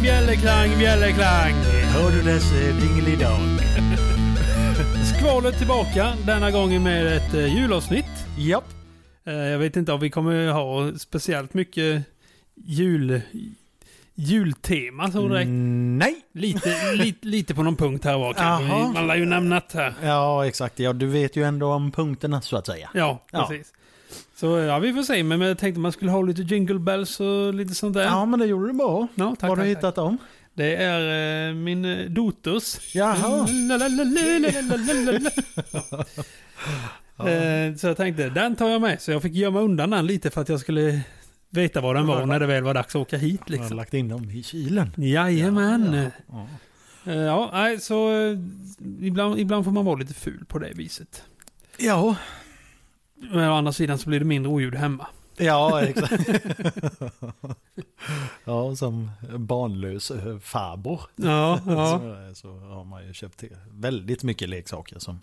Bjällerklang, bjällerklang. Hör du dess eh, dingelidong? Skvalet tillbaka, denna gången med ett eh, julavsnitt. Japp. Eh, Jag vet inte om vi kommer ha speciellt mycket jul, jultema så direkt. Mm, nej. Lite, lite, lite på någon punkt här var kanske. Jaha. Man lär ju eh, nämnat här. Ja, exakt. Ja, du vet ju ändå om punkterna så att säga. Ja, Ja. precis. Så eh, ja, vi får se. Men jag tänkte man skulle ha lite jingle bells och lite sånt där. Ja, men det gjorde du bra. Ja, tack, Vad har du tack, tack. hittat dem? Det är eh, min eh, doters. Jaha. Mm. Lalalalalalalalalala. Ja. Eh, Så jag tänkte, den tar jag med. Så jag fick gömma undan den lite för att jag skulle veta var den var när det väl var dags att åka hit. Jag har Liksom. lagt in dem i kylen. Jajamän. Ja, Ja. ja nej, så eh, ibland, ibland får man vara lite ful på det viset. Ja, Men å andra sidan så blir det mindre oljud hemma. ja exakt. ja, som barnlös eh, farbror. Ja, ja. Så, eh, så har man ju köpt till väldigt mycket leksaker som,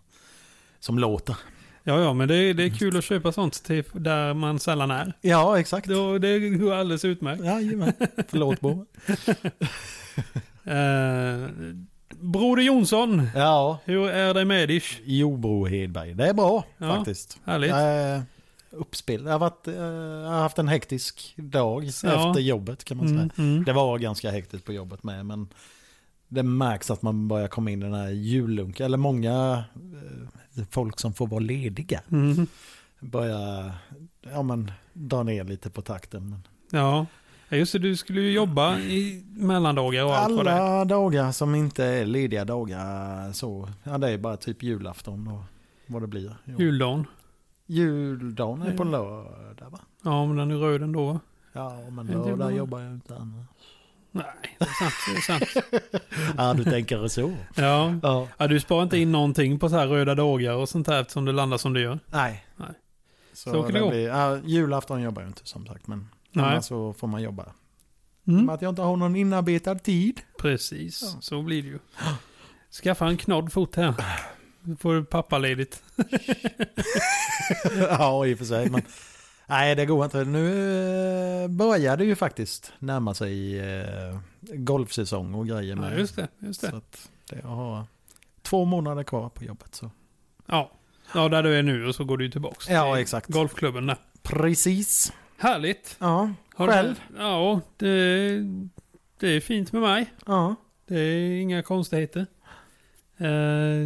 som låter. ja, ja men det, är- det är kul att köpa sånt till där man sällan är. Ja, exakt. Då, det går alldeles utmärkt. Jajamän. Förlåt, Bo. Eh, Broder Jonsson, Ja, hur är det med dig? Jo, Bro Hedberg. Det är bra Ja. faktiskt. Härligt. Jag är uppspel. Jag har, varit, eh, jag har haft en hektisk dag Ja. efter jobbet kan man säga. Mm, mm. Det var ganska hektiskt på jobbet med, men det märks att man börjar komma in i den här jullunken. Eller många eh, folk som får vara lediga Mm. börjar ja, men, dra ner lite på takten. Men Ja. ja, just det. Du skulle ju jobba i mellandagar och allt vad det är. alla dagar som inte är lediga dagar så, ja, det är bara typ julafton och vad det blir. Juldagen. Juldagen är på lördag va? Ja, men den är röd ändå. Ja, men Inte lördag bra. jobbar jag inte annars. Nej, det är sant. Det är sant. Ja, du tänker så. Ja. Ja. ja, du sparar inte in någonting på så här röda dagar och sånt här eftersom du landar som du gör. Nej. Nej. Så, Så kan det det gå. blir, ja, julafton jobbar jag inte som sagt, men Nej. annars så får man jobba. Men Mm. att jag inte har någon inarbetad tid. Precis, Ja. så blir det ju. Skaffa en knodd fot här. Då får du pappaledigt. ja, i och för sig. Men, nej, det går inte. Nu eh, börjar det ju faktiskt närma sig eh, golfsäsong och grejer Ja, med. just det. Just Så det. att det jag har två månader kvar på jobbet. Så. Ja. ja, där du är nu och så går du ju tillbaks till Ja, exakt. golfklubben där. Precis. Härligt. Ja, Har du- själv. Ja, det, det är fint med mig. Ja. Det är inga konstigheter. Eh,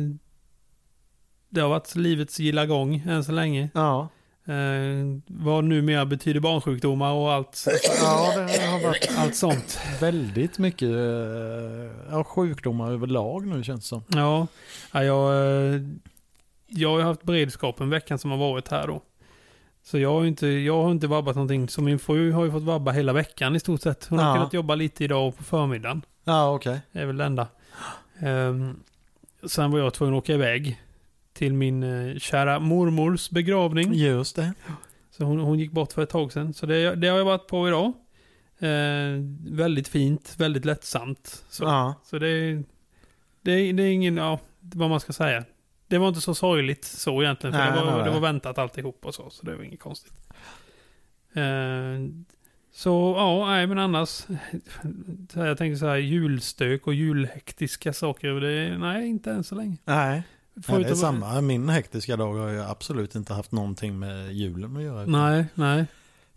det har varit livets gilla gång än så länge. Ja. Eh, vad numera betyder barnsjukdomar och allt, ja, det har varit allt sånt. Väldigt mycket eh, ja, sjukdomar överlag nu känns det som. Ja, ja, jag, eh, jag har ju haft beredskapen veckan som har varit här då. Så jag har ju inte, jag har inte vabbat någonting. Så min fru har ju fått vabba hela veckan i stort sett. Hon har Ja. kunnat jobba lite idag och på förmiddagen. Ja, okej. Det är väl det enda. Ehm, sen var jag tvungen att åka iväg till min eh, kära mormors begravning. Just det. Så hon, hon gick bort för ett tag sedan. Så det, det har jag varit på idag. Ehm, väldigt fint, väldigt lättsamt. Så, Ja. så det, det, det är ingen, ja, vad man ska säga. Det var inte så sorgligt så egentligen. För Nej, det, var, nej, nej. det var väntat alltihop och så. Så det var inget konstigt. Ehm, så ja, nej men annars. så här, Jag tänker så här julstök och julhektiska saker. Det, nej, inte än så länge. Nej. Ja, det är Förutom- samma. Min hektiska dag har jag absolut inte haft någonting med julen att göra. Nej, nej.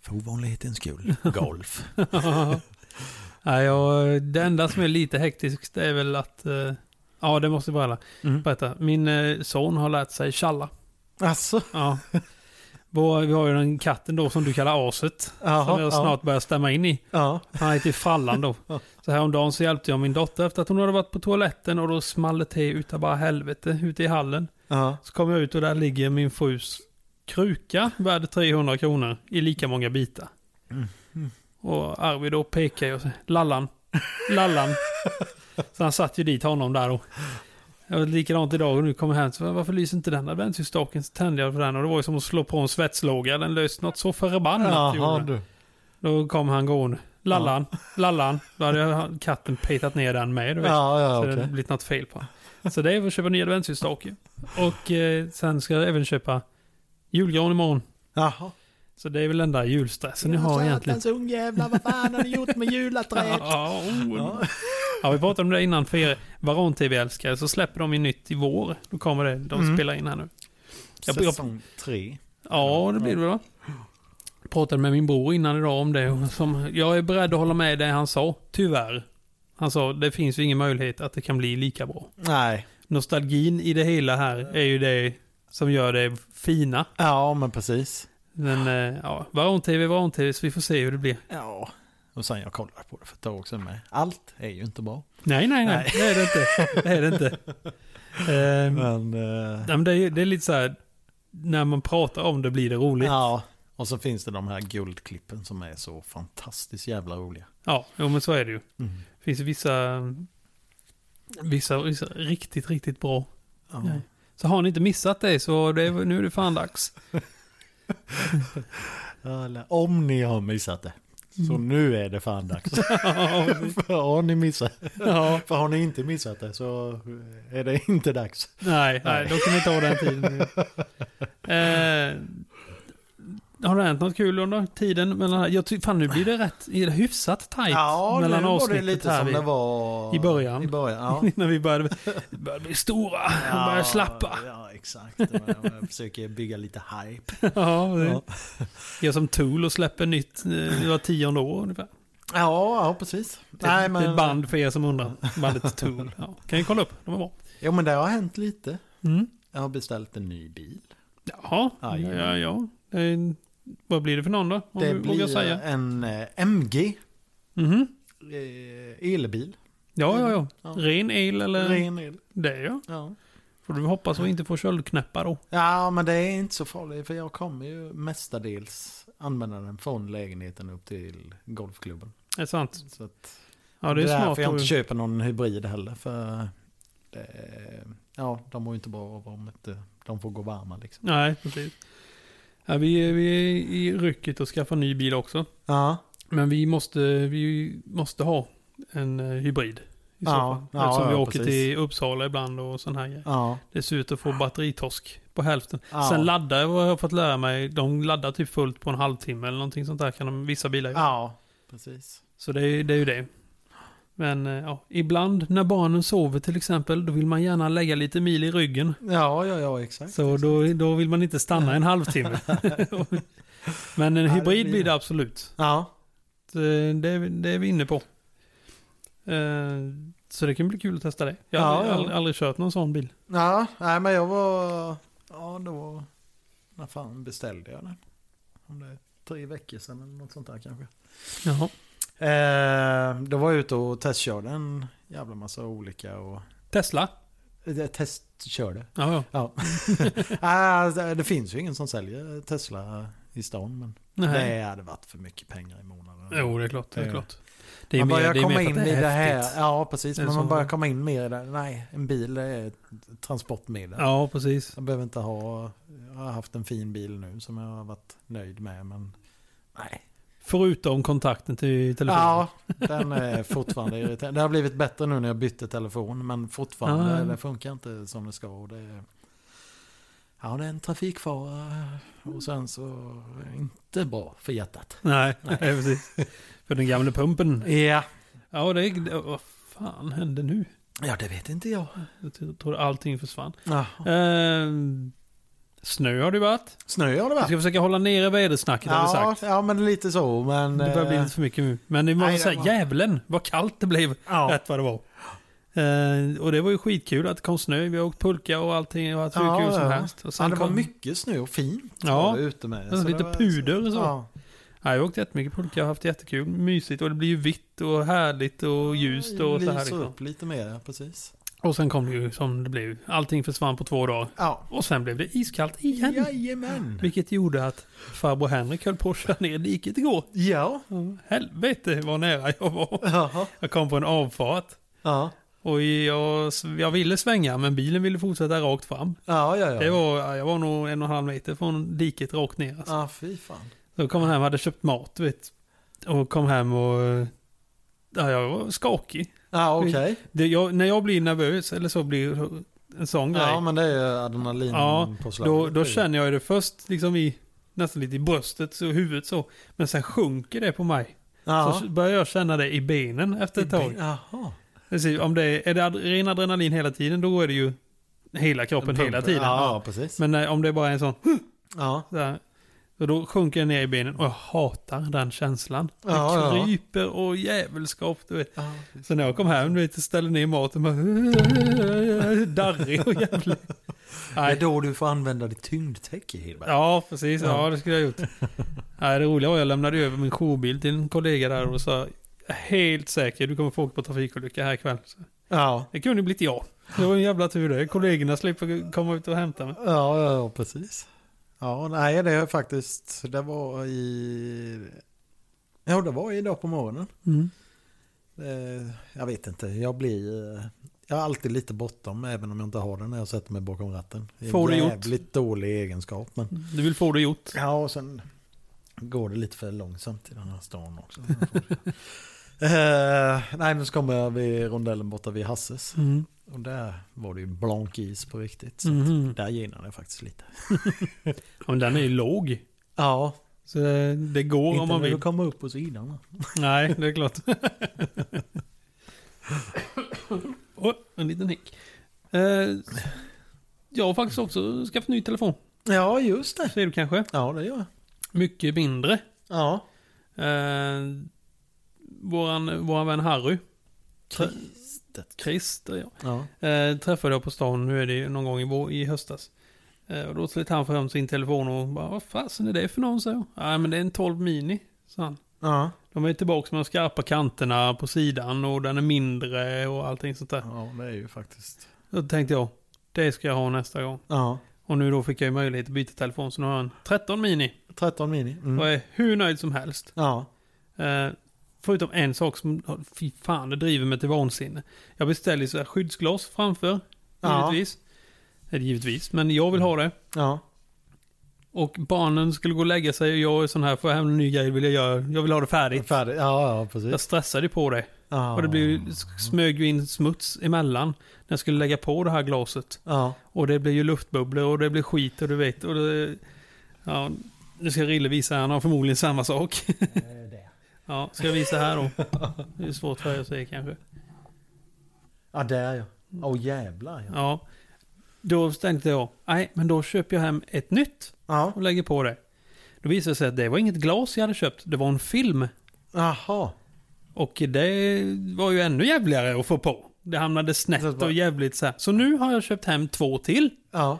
För ovanlighetens skull. Golf. nej jag, det enda som är lite hektiskt det är väl att... eh, ja, det måste jag bara Mm. berätta. Min eh, son har lärt sig tjalla. Alltså, Ja. Vår, vi har ju den katten då som du kallar aset. som jag snart börjar stämma in i. Ja. Han heter ju Frallan då. Så häromdagen så hjälpte jag min dotter efter att hon hade varit på toaletten och då small det till utav bara helvete ute i hallen. Ja. Så kom jag ut och där ligger min frus kruka värd 300 kronor i lika många bitar. Mm. Och Arvid då pekar ju och säger Lallan, Lallan. så han satt ju dit honom där då. Jag var likadant idag och nu kommer jag hem. Så varför lyser inte den adventsljusstaken? Så tände jag på den och det var ju som att slå på en svetslåga. Den löste något så förbannat. gjorde Jaha, den. du. Då kom han gående. Lallan, Lallan. Då hade jag- katten petat ner den med. Du vet. Ja, ja, Så okej. det hade blivit något fel på den. Så det är för att köpa nya adventsljusstake. Och eh, sen ska jag även köpa julgran imorgon. Jaha. Så det är väl den där julstressen jag har egentligen. Satans ungjävlar, vad fan har ni gjort med julaträet? Ja, oh, Ja, vi pratade om det innan för er Varan-TV-älskare så släpper de ju nytt i vår. Då kommer det, de Mm. spelar in här nu. Jag- jag- Säsong tre. Ja, det blir det väl. Jag pratade med min bror innan idag om det. och Som, jag är beredd att hålla med det han sa, tyvärr. Han sa, det finns ju ingen möjlighet att det kan bli lika bra. Nej. Nostalgin i det hela här är ju det som gör det fina. Ja, men precis. Men eh, ja, Varan-TV, Varan-TV, så vi får se hur det blir. Ja. Och sen jag kollade på det för ett tag sedan med. Allt är ju inte bra. Nej, nej, nej, Nej. det är det inte. Det är det inte. Ehm, Men... eh, nej, men det, är, det är lite så här, när man pratar om det blir det roligt. ja. Och så finns det de här guldklippen som är så fantastiskt jävla roliga. Ja, jo, men så är det ju. Mm. Det finns ju vissa, vissa, vissa riktigt, riktigt bra. Ja. Nej. Så har ni inte missat det så det, är- nu är det fan dags. Eller, om ni har missat det. Så nu är det fan dags. ja, För har, ni missat, ja, för har ni inte missat det så är det inte dags. nej, nej, då kan ni ta den tiden. eh, har det hänt något kul under tiden? Mellan, jag ty, fan, nu blir det rätt hyfsat tajt mellan avsnittet här vi, var i början. I början, ja. När vi började, började bli stora, Ja, började slappa. Ja, exakt. Jag jag försöker bygga lite hype. Ja, det- Ja. Jag som Tool och släpper nytt, eh, det var tionde år ungefär. Ja, ja precis. Det är ett band för er som undrar. Bandet Tool. Ja. Kan ni kolla upp? De var bra. Jo, men det har hänt lite. Mm. Jag har beställt en ny bil. Jaha, ja, Aj, aj, aj. ja. Det är en- Vad blir det för någon då? Om Det du vågar blir säga. en eh, MG Mhm. eh, elbil. Ja, ja, ja, Ja. Ren el eller? Ren el. Det ja. Ja. Får du hoppas att vi inte får köldknäppar då. ja, men det är inte så farligt för jag kommer ju mestadels använda den från lägenheten upp till golfklubben. Är det sant? Så att, Ja, det är smart. därför jag då inte ju. köper någon hybrid heller. För det, ja, de mår ju inte bra av om inte de får gå varma liksom. Nej, precis. Ja, vi, är- vi är i rycket att skaffa ny bil också. Ja, Men vi måste, vi måste ha en eh, hybrid. I så Ja, fall. ja, Eftersom vi ja, åker precis. till Uppsala ibland och sån här grejer. ja. Det ser ut att få batteritorsk på hälften. Ja. Sen laddar, vad jag har fått lära mig, de laddar typ fullt på en halvtimme eller någonting sånt där kan de, vissa bilar göra. Ja, precis. Så det, är- det är ju det. Men eh, ja, ibland när barnen sover till exempel, då vill man gärna lägga lite mil i ryggen. Ja, ja, ja, exakt. Så då, då vill man inte stanna en halvtimme. Men en det hybrid blir blir det det. absolut. Ja, Så eh, Det är, vi- det är vi inne på. Eh, Så det kan bli kul att testa det. Jag har Ja, aldrig, ja. aldrig, aldrig kört någon sån bil. ja nej, men jag var... Ja, då... När fan beställde jag den? Om det är tre veckor sedan eller något sånt där kanske. Jaha. Eh, då var jag ute och testkörde en jävla massa olika och... Tesla? Eh, testkörde? Ja, ja. Ja. Ah, det- det finns ju ingen som säljer Tesla i stan, men Nej. det hade varit för mycket pengar i månaden. Jo, det är klart. Det är Det- klart. Det är man mer, börjar det är komma mer för in att det i är det häftigt. här. Ja, precis. Det är Men man så- börjar komma in mer i det. Nej, en bil är ett transportmedel. Ja, precis. Jag behöver inte ha... Jag har haft en fin bil nu som jag har varit nöjd med, men... Nej. Förutom kontakten till telefonen. Ja, den är fortfarande irriterande. Det har blivit bättre nu när jag bytte telefon, men fortfarande Ja, ja. det funkar inte som det ska. Och det är, ja, det är en trafikfara och sen så inte bra för hjärtat. Nej, nej. precis. För den gamla pumpen. Ja, Ja, det är... det- Vad fan hände nu? ja det vet inte jag. Jag tro- trodde allting försvann. Ja. Eh, snö har det varit. Snö har det Vi varit. ska försöka hålla nere vädersnacket har vi Ja, sagt. ja, men lite så. Men, Det börjar bli eh, lite för mycket nu. Men det måste nej, det säga, var- djävulen vad kallt det blev. ja. Rätt vad det var. Eh, och det var ju skitkul att det kom snö. Vi har åkt pulka och allting och haft hur Ja, kul som ja. helst. Och sen ja, det var kom- mycket snö och fint Ja. var det ute med. Alltså, lite det var- puder och så. Ja. Ja, jag har åkt jättemycket pulka, jag har haft jättekul, mysigt och det blir ju vitt och härligt och ljust och så Lyser här. Liksom. upp lite mer, precis. Och sen kom det ju som det blev. Allting försvann på två dagar. Ja. Och sen blev det iskallt igen. Jajamän. Vilket gjorde att farbror Henrik höll på att köra ner diket igår. Ja. Helvete vad nära jag var. Jaha. Jag kom på en avfart. Ja. Och jag, jag ville svänga men bilen ville fortsätta rakt fram. Ja, ja, ja. Det var, jag var nog en och en halv meter från diket rakt ner. Alltså. Ja, ah, fy fan. Då kom han hem och hade köpt mat, du vet. Och kom hem och... Ja, jag var skakig. Ja, Ah, Mm. okej. Det, jag, när jag blir nervös eller så blir en sån Ja, grej. men det är ju adrenalin Ja, på slaget. Då, då känner jag det först liksom i, nästan lite i bröstet, så huvudet så. Men sen sjunker det på mig. ja. Så börjar jag känna det i benen efter ett tag. Jaha. Precis, om det är, är det ad- ren adrenalin hela tiden då är det ju hela kroppen hela Pumpen. tiden. Ja, precis. Men eh, om det bara är en sån, ja. där, så då sjunker jag ner i benen och jag hatar den känslan. Det Ja, ja. kryper och jävelskap, du vet. Ja. Så när jag kom hem, du vet, ställde ner maten, bara, darrig och jävlig. Det är Nej, då du får använda ditt tyngdtäcke, Hilbert. Ja, precis. Ja, det skulle jag ha gjort. Nej, det roliga var jag lämnade över min jourbil till en kollega där och sa helt säker, du kommer få åka på trafikolycka här ikväll. Så, Ja. det kunde ju blivit jag. Det var en jävla tur det. Kollegorna slipper komma ut och hämta mig. Ja, ja, ja, precis. Ja, nej, det är faktiskt, det var i... Ja, det var idag på morgonen. Eh, Jag vet inte, jag blir... eh, Jag har alltid lite bråttom, även om jag inte har den när jag sätter mig bakom ratten. Det är en Får det gjort. Jävligt dålig egenskap, men... Du vill få det gjort. Ja, och sen går det lite för långsamt i den här stan också. eh, nej, men så kommer jag vid rondellen borta vid Hasses. Mm. Och där var det ju blank is på riktigt. Så Mhm. Där gillade jag faktiskt lite. Ja, men den är ju låg. Ja, Så det, det går inte om man när vill. du kommer upp på sidan. Nej, det är klart. Åh, en liten hick. Eh, jag har faktiskt också skaffat ny telefon. Ja, just det. Ser du kanske? Ja, det gör jag. Mycket mindre. Ja. Eh, våran, våran vän Harry, Trä- Kristet. Christer, ja, Ja. eh, träffade jag på stan, nu är det ju någon gång i, vår, i höstas. Eh, och då slet han fram sin telefon och bara, vad fasen är det för någon? sa jag. Nej men det är en 12 mini, sa han. Ja. De är tillbaka med de skarpa kanterna på sidan och den är mindre och allting sånt där. ja, det är ju faktiskt. Då tänkte jag, det ska jag ha nästa gång. Ja. Och nu då fick jag ju möjlighet att byta telefon så nu har jag en 13 mini. 13 mini. Mm. Och är hur nöjd som helst. Ja. Eh, förutom en sak som, oh, fy fan, det driver mig till vansinne. Jag beställer ju så här skyddsglas framför, Ja. givetvis. Eller givetvis, men jag vill ha det. Ja. Och barnen skulle gå och lägga sig och jag är sån här, får jag hem en ny grej vill jag göra, jag vill ha det färdigt. Färdig. Ja, ja, Jag precis. stressade på det. Ja. Och det blev, Ah. ju- smög ju in smuts emellan när jag skulle lägga på det här glaset. Ja. Och det blir ju luftbubblor och det blir skit och du vet. Och det, ja, nu ska Rille visa, han har förmodligen samma sak. Ja, ska jag visa här då? Det är svårt för er att se kanske. Ja, där ja. Åh jävlar ja. Mm. Ja. Då tänkte jag, nej men då köper jag hem ett nytt Ja. och lägger på det. Då visade det sig att det var inget glas jag hade köpt, det var en film. Jaha. Och det var ju ännu jävligare att få på. Det hamnade Så att snett bara- och jävligt så här. Så nu har jag köpt hem två till. Ja.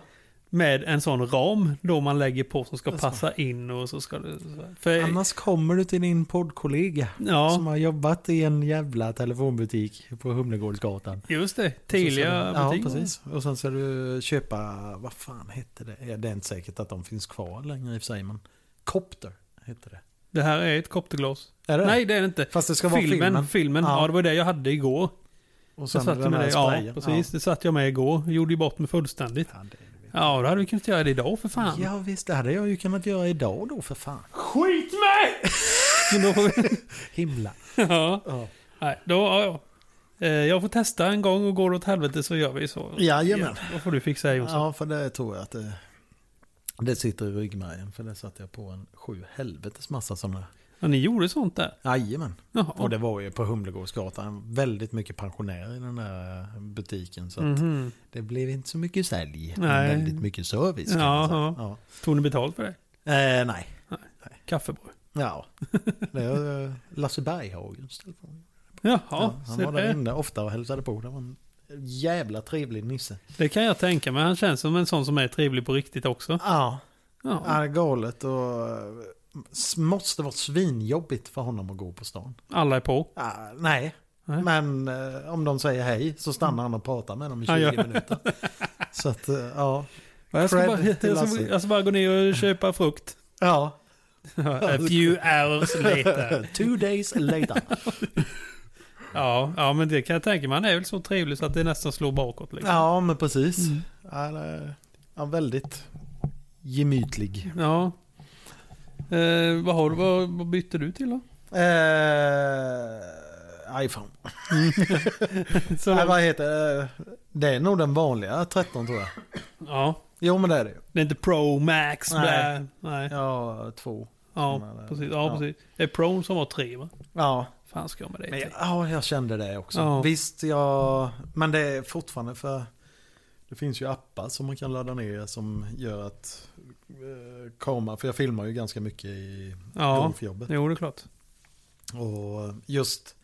Med en sån ram då man lägger på som ska Alltså. passa in och så ska det... så här. För, Annars kommer du till din poddkollega ja, som har jobbat i en jävla telefonbutik på Humlegårdsgatan. just det. Så Telia ska du, Ja, butik. precis. Och sen ska du köpa, vad fan hette det? Ja, Det är inte säkert att de finns kvar längre i och för sig, men Copter hette det. Det här är ett kopterglas. Är det Nej, det är det inte. Fast det ska filmen, vara filmen. filmen. Ja. Ja. det var det jag hade igår. Och Så satt jag med det. Ja, sprayen. precis. Det satt jag med igår. Gjorde ju bort mig fullständigt. Ja, det- Ja, då hade vi kunnat göra det idag för fan. ja visst, det hade jag ju kunnat göra idag då för fan. Skit mig! Men då får vi... Himla. ja. Ja. Nej, då, ja, ja. Eh, Jag får testa en gång och går det åt helvete så gör vi så. Jajamän. Då får du fixa det Jonsson. Ja, för det tror jag att det, det sitter i ryggmärgen. För det satte jag på en sju helvetes massa sådana. Ja, ni gjorde sånt där? Jajamän. Och Jaha. det var ju på Humlegårdsgatan väldigt mycket pensionärer i den där eh, butiken. Så att Mhm. det blev inte så mycket sälj. men Nej. Väldigt mycket service. kan Ja, man säga. ja. Tog ni betalt för det? Eh, nej. Kaffebröd? Ja. Det är eh, Lasse Berghagens telefon. Jaha, Ja, han så var där det, inne ofta och hälsade på. Det var en jävla trevlig nisse. det kan jag tänka mig. Han känns som en sån som är trevlig på riktigt också. Ja, Ja, ja galet och eh, s- måste vara svinjobbigt för honom att gå på stan. alla är på. Ja, nej. Nej. men eh, om de säger hej så stannar han och pratar med dem i 20 Han gör- minuter. Så att, eh, ja. Jag ska, Cred bara, till jag, ska, Lasse. jag ska bara gå ner och köpa frukt. Ja, A few hours later. two days later. Ja, ja, men det kan jag tänka mig. Han är väl så trevlig så att det nästan slår bakåt. Liksom. Ja, men precis. Ja, det är- ja, väldigt gemytlig. Ja. Eh, vad, har du, vad, vad bytte du till då? Eh, iPhone. Så- Nej, vad heter det? Det är nog den vanliga 13 tror jag. ja, Jo, men det är det ju. det är inte Pro Max. Nej. Nej. Nej. Ja, två. Ja, Men, eh, precis. Ja, ja. precis. Det är Pro som var tre va? Ja, fan ska jag med dig Men jag, till? ja, jag kände det också. Ja. Visst, jag... Men det är fortfarande för... Det finns ju appar som man kan ladda ner som gör att eh, kameran, för jag filmar ju ganska mycket i Ja, golfjobbet. jo det är klart. Och just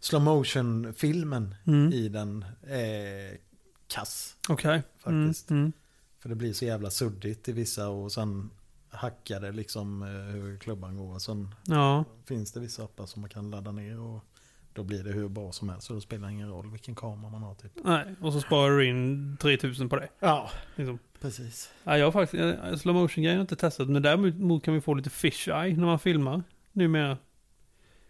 slow motion filmen Mm. i den är kass. Okej. Faktiskt. Mm. Mm. För det blir så jävla suddigt i vissa och sen hackar det liksom eh, hur klubban går. Och sen Ja, finns det vissa appar som man kan ladda ner och då blir det hur bra som helst. Så det spelar ingen roll vilken kamera man har typ. nej. Och så sparar du in 3000 på det. Ja, Liksom. precis. Ja, jag har faktiskt, eh, slow motion grejen har jag inte testat, men däremot kan vi få lite fish eye när man filmar numera.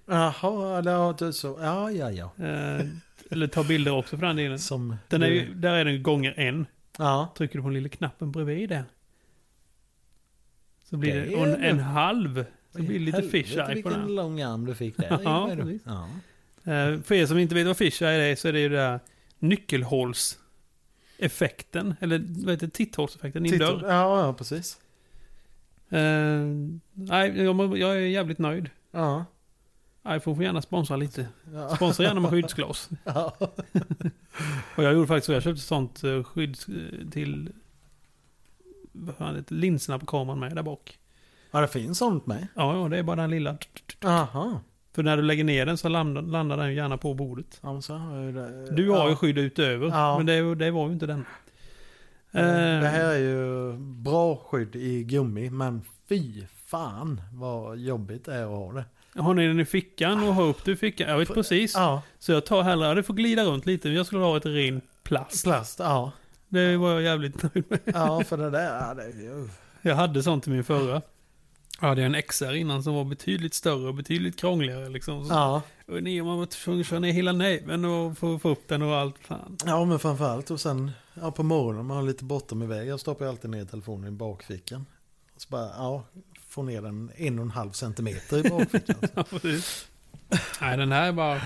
Jaha, eller ja, du så. Ja, ja, ja. Eh, eller ta bilder också för den delen. Som Den är ju, du- där är den gånger en. Ja, Trycker du på den lilla knappen bredvid den. Så blir det, Det är och en, det. en halv. Så blir det lite Helvete, fish eye på vilken den. lång arm du fick där. Ja, Vad är det? precis. ja. Eh, för er som inte vet vad fish eye är så är det ju det här nyckelhålseffekten. Eller vad heter det? Titthålseffekten i en dörr. Tittar- Ja, ja, precis. Eh, nej, jag, jag är jävligt nöjd. Ja. iPhone får gärna sponsra lite. Ja. Sponsra gärna med skyddsglas. ja. Och jag gjorde faktiskt så. Jag köpte sånt eh, skydd eh, till... Vad fan heter det? Linserna på kameran med där bak. Ja, det finns sånt med. Ja, ja, det är bara den lilla. Jaha. För när du lägger ner den så landar, landar den gärna på bordet. Ja, men så har jag ju det. Du har ja. ju skydd utöver, Ja. Eh, men det, det var ju inte den. Det här Eh, är ju bra skydd i gummi, men fy fan vad jobbigt det är att ha det. Eh, har ni den i fickan och har upp det i fickan? Jag vet precis. Ja, Så jag tar hellre, ja, det får glida runt lite. Jag skulle ha ett ren plast. plast, ja. Det var jag jävligt nöjd med. Ja, för det där, ja, det är ju... Jag hade sånt till min förra. Jag hade en XR innan som var betydligt större och betydligt krångligare liksom. Så, Ja. och ni, man var tvungen att köra ner hela näven och få, få upp den och allt fan. ja, men framförallt och sen ja, på morgonen man har lite bråttom iväg. Jag stoppar ju alltid ner telefonen i bakfickan. Så bara, ja, få ner den en och en halv centimeter i bakfickan. Ja, precis. Nej, den här är bara...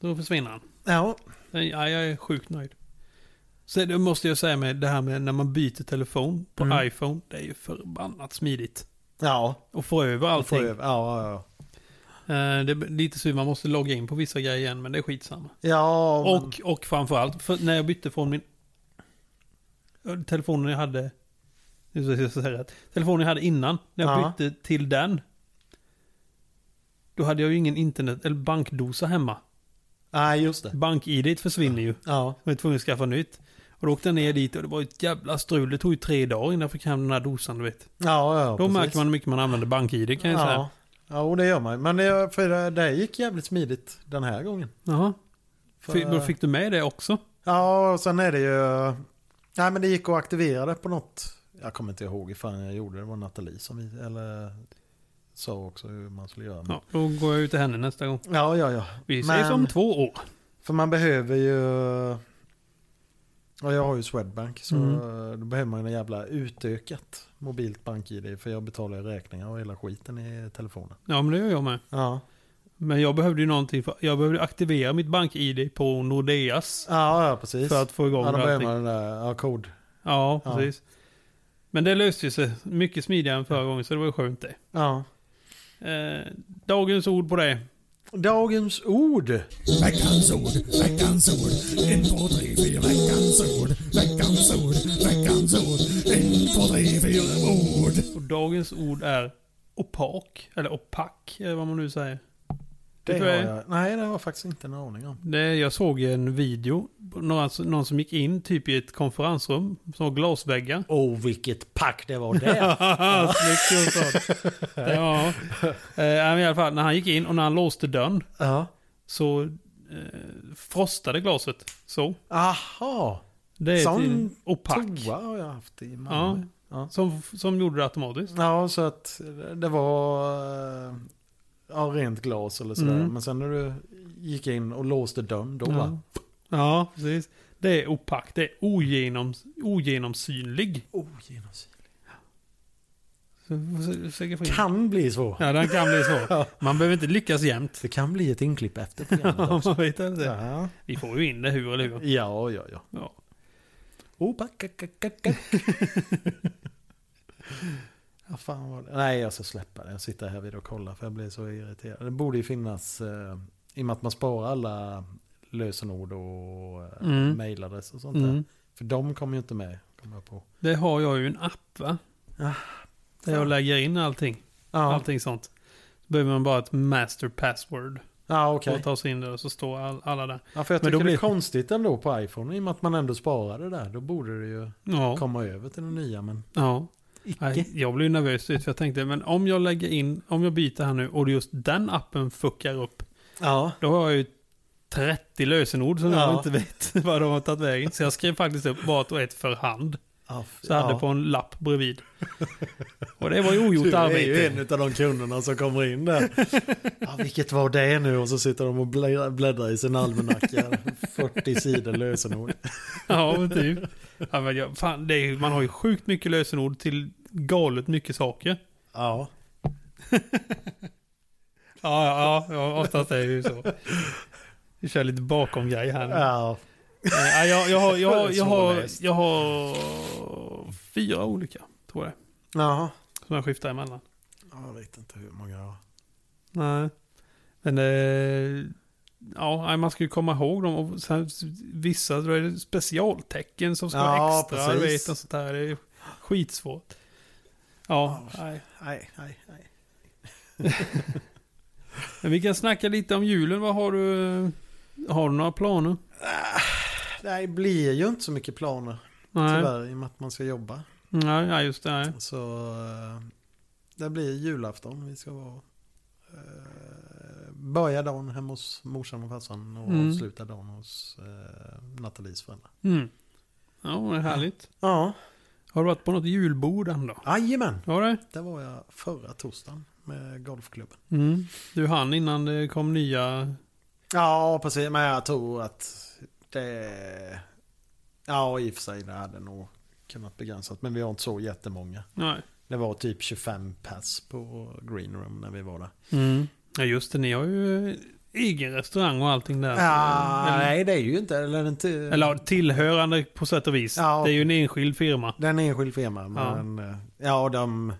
Då försvinner han. ja, Den- Ja, jag är sjukt nöjd. Så det måste jag säga med det här med när man byter telefon på Mm. iPhone. Det är ju förbannat smidigt. ja. Och få över Får allting. jag- Ja, ja, ja. Eh, det är lite synd, man måste logga in på vissa grejer igen, men det är skitsamma. Ja, men- Och, och framförallt, för när jag bytte från min... Telefonen jag hade... Nu ska jag säga rätt. Telefonen jag hade innan, när jag Ja. bytte till den. Då hade jag ju ingen internet eller bankdosa hemma. Nej, just det. Bank-id försvinner ju. Ja, Jag var tvungen att skaffa nytt. Och då åkte jag ner dit och det var ett jävla strul. Det tog ju tre dagar innan jag fick hem den här dosan, du vet. ja, ja. då precis. märker man hur mycket man använder bank-id kan jag säga. Ja, ja och det gör man. Men det, för det, det gick jävligt smidigt den här gången. Jaha. För- Fick- Då fick du med det också? Ja, och sen är det ju... Nej, men det gick att aktivera det på något. Jag kommer inte ihåg ifall jag gjorde det. Det var Nathalie som vi, eller sa också hur man skulle göra. Ja, då går jag ut till henne nästa gång. ja, ja. ja. Vi ses Men- om två år. För man behöver ju... Ja, jag har ju Swedbank. Så då behöver man ju en jävla utökat mobilt bank-id. För jag betalar ju räkningar och hela skiten i telefonen. Ja, men det gör jag med. Ja, Men jag behövde ju någonting. För, jag behövde aktivera mitt bank-id på Nordeas. ja, ja precis. För att få igång ja, då behöver allting. man den där ja, kod. Ja, Ja. precis. Men det löste ju sig mycket smidigare än förra gången, så det var ju skönt det. Ja. Eh, dagens ord på det. Dagens ord. Veckans ord, veckans ord, en, två, tre, fyra, veckans ord, veckans ord, veckans ord, en, två, tre, fyra, ord. Och dagens ord är opak, eller opak, eller vad man nu säger. Det tror har jag är- jag. Nej, det har jag faktiskt inte en aning om. Det, jag såg en video, någon, någon som gick in typ i ett konferensrum som var glasväggar. Åh, oh, vilket pack det var där. Haha, Snyggt Jonsson. Ja. Eh, men I alla fall, när han gick in och när han låste dörren ja. så eh, frostade glaset. Så. Aha. Det är Sån tydligen opack. Toa har jag haft i Ja. Malmö. Ja. Som, som gjorde det automatiskt. Ja, så att det var eh, ja, rent glas eller sådär. Mm. Men sen när du gick in och låste dörren, då Ja. va? Ja, precis. Det är opack. Det är ogenom, ogenomsynlig. "Oh, Ogenomsynligt. Så vi får se- försöka få in- Kan bli så. Ja, den kan bli så. Man behöver inte lyckas jämt. Det kan bli ett inklipp efter programmet Ja, också. man vet inte. Ja, Vi får ju in det hur eller hur. ja, ja. ja. Ja. Oh, back, back, back, back. ja, fan var det? Nej, jag ska släppa det. Jag sitter här vid och kollar för jag blir så irriterad. Det borde ju finnas eh, I och med att man sparar alla lösenord och mm. Mm. mejladress och sånt där. Mm. För de kommer ju inte med. Kommer jag på. Det har jag ju en app va? Ah, Där jag lägger in allting. Ja, Allting sånt. Så behöver man bara ett master password. ja okej. Okay. Och ta sig in där och så står all, alla där. Ja, för jag Men tycker då det är blir- konstigt ändå på iPhone. I och med att man ändå sparar det där. Då borde det ju Ja. komma över till den nya. Men ja. icke. Nej, jag blev ju nervös för jag tänkte men om jag lägger in, om jag byter här nu och just den appen fuckar upp. Ja. Då har jag ju 30 lösenord som Ja. jag inte vet vad de har tagit vägen. Så jag skrev faktiskt upp vart och ett för hand. ja Så jag hade på en lapp bredvid. Och det var ju ogjort Du är ju arbete. en av de kunderna som kommer in där. Ja, vilket var det nu? Och så sitter de och blä- bläddrar i sin almanacka. 40 sidor lösenord. Ja, men typ. Ja, men jag, fan, det är, ju- man har ju sjukt mycket lösenord till galet mycket saker. Ja. Ja, ja, ja, ja oftast är det ju så. Vi kör lite bakom grej här nu. ja. Nej, Eh, jag, jag, har, jag, har, jag, har, Svårläst. jag har fyra olika, tror jag. Jaha. Som jag skiftar emellan. Ja, Jag vet inte hur många jag har. Nej. Men eh, ja, nej, man ska ju komma ihåg dem. Och sen, vissa då är det specialtecken som ska Ja, vara extra. Du precis. vet, och sånt där. Det är ju skitsvårt. Ja, nej. Nej, nej, nej. Men vi kan snacka lite om julen. Vad har du? Har du några planer? Det blir ju inte så mycket planer Nej, tyvärr i och med att man ska jobba. nej, nej just det. Nej. Så eh, det blir julafton. Vi ska vara, eh, börja dagen hemma hos morsan och farsan och Mm. sluta dagen hos eh, Nathalies föräldrar. Mm. Ja, det är härligt. Ja, Har du varit på något julbord ändå? jajamän. Har du? Där var jag förra torsdagen med golfklubben. Mm. Du hann innan det kom nya... Ja, precis. Men jag tror att det... Ja, i och för sig det hade nog kunnat begränsat. Men vi har inte så jättemånga. Nej. Det var typ 25 pass på Green Room när vi var där. Mm. Ja, just det. Ni har ju eh, egen restaurang och allting där. så- Ja, Eller- nej, det är ju inte... Eller inte... Eller ja, tillhörande på sätt och vis. Ja. Det är ju en enskild firma. Den är enskild firma. Ja. Men ja, ja de...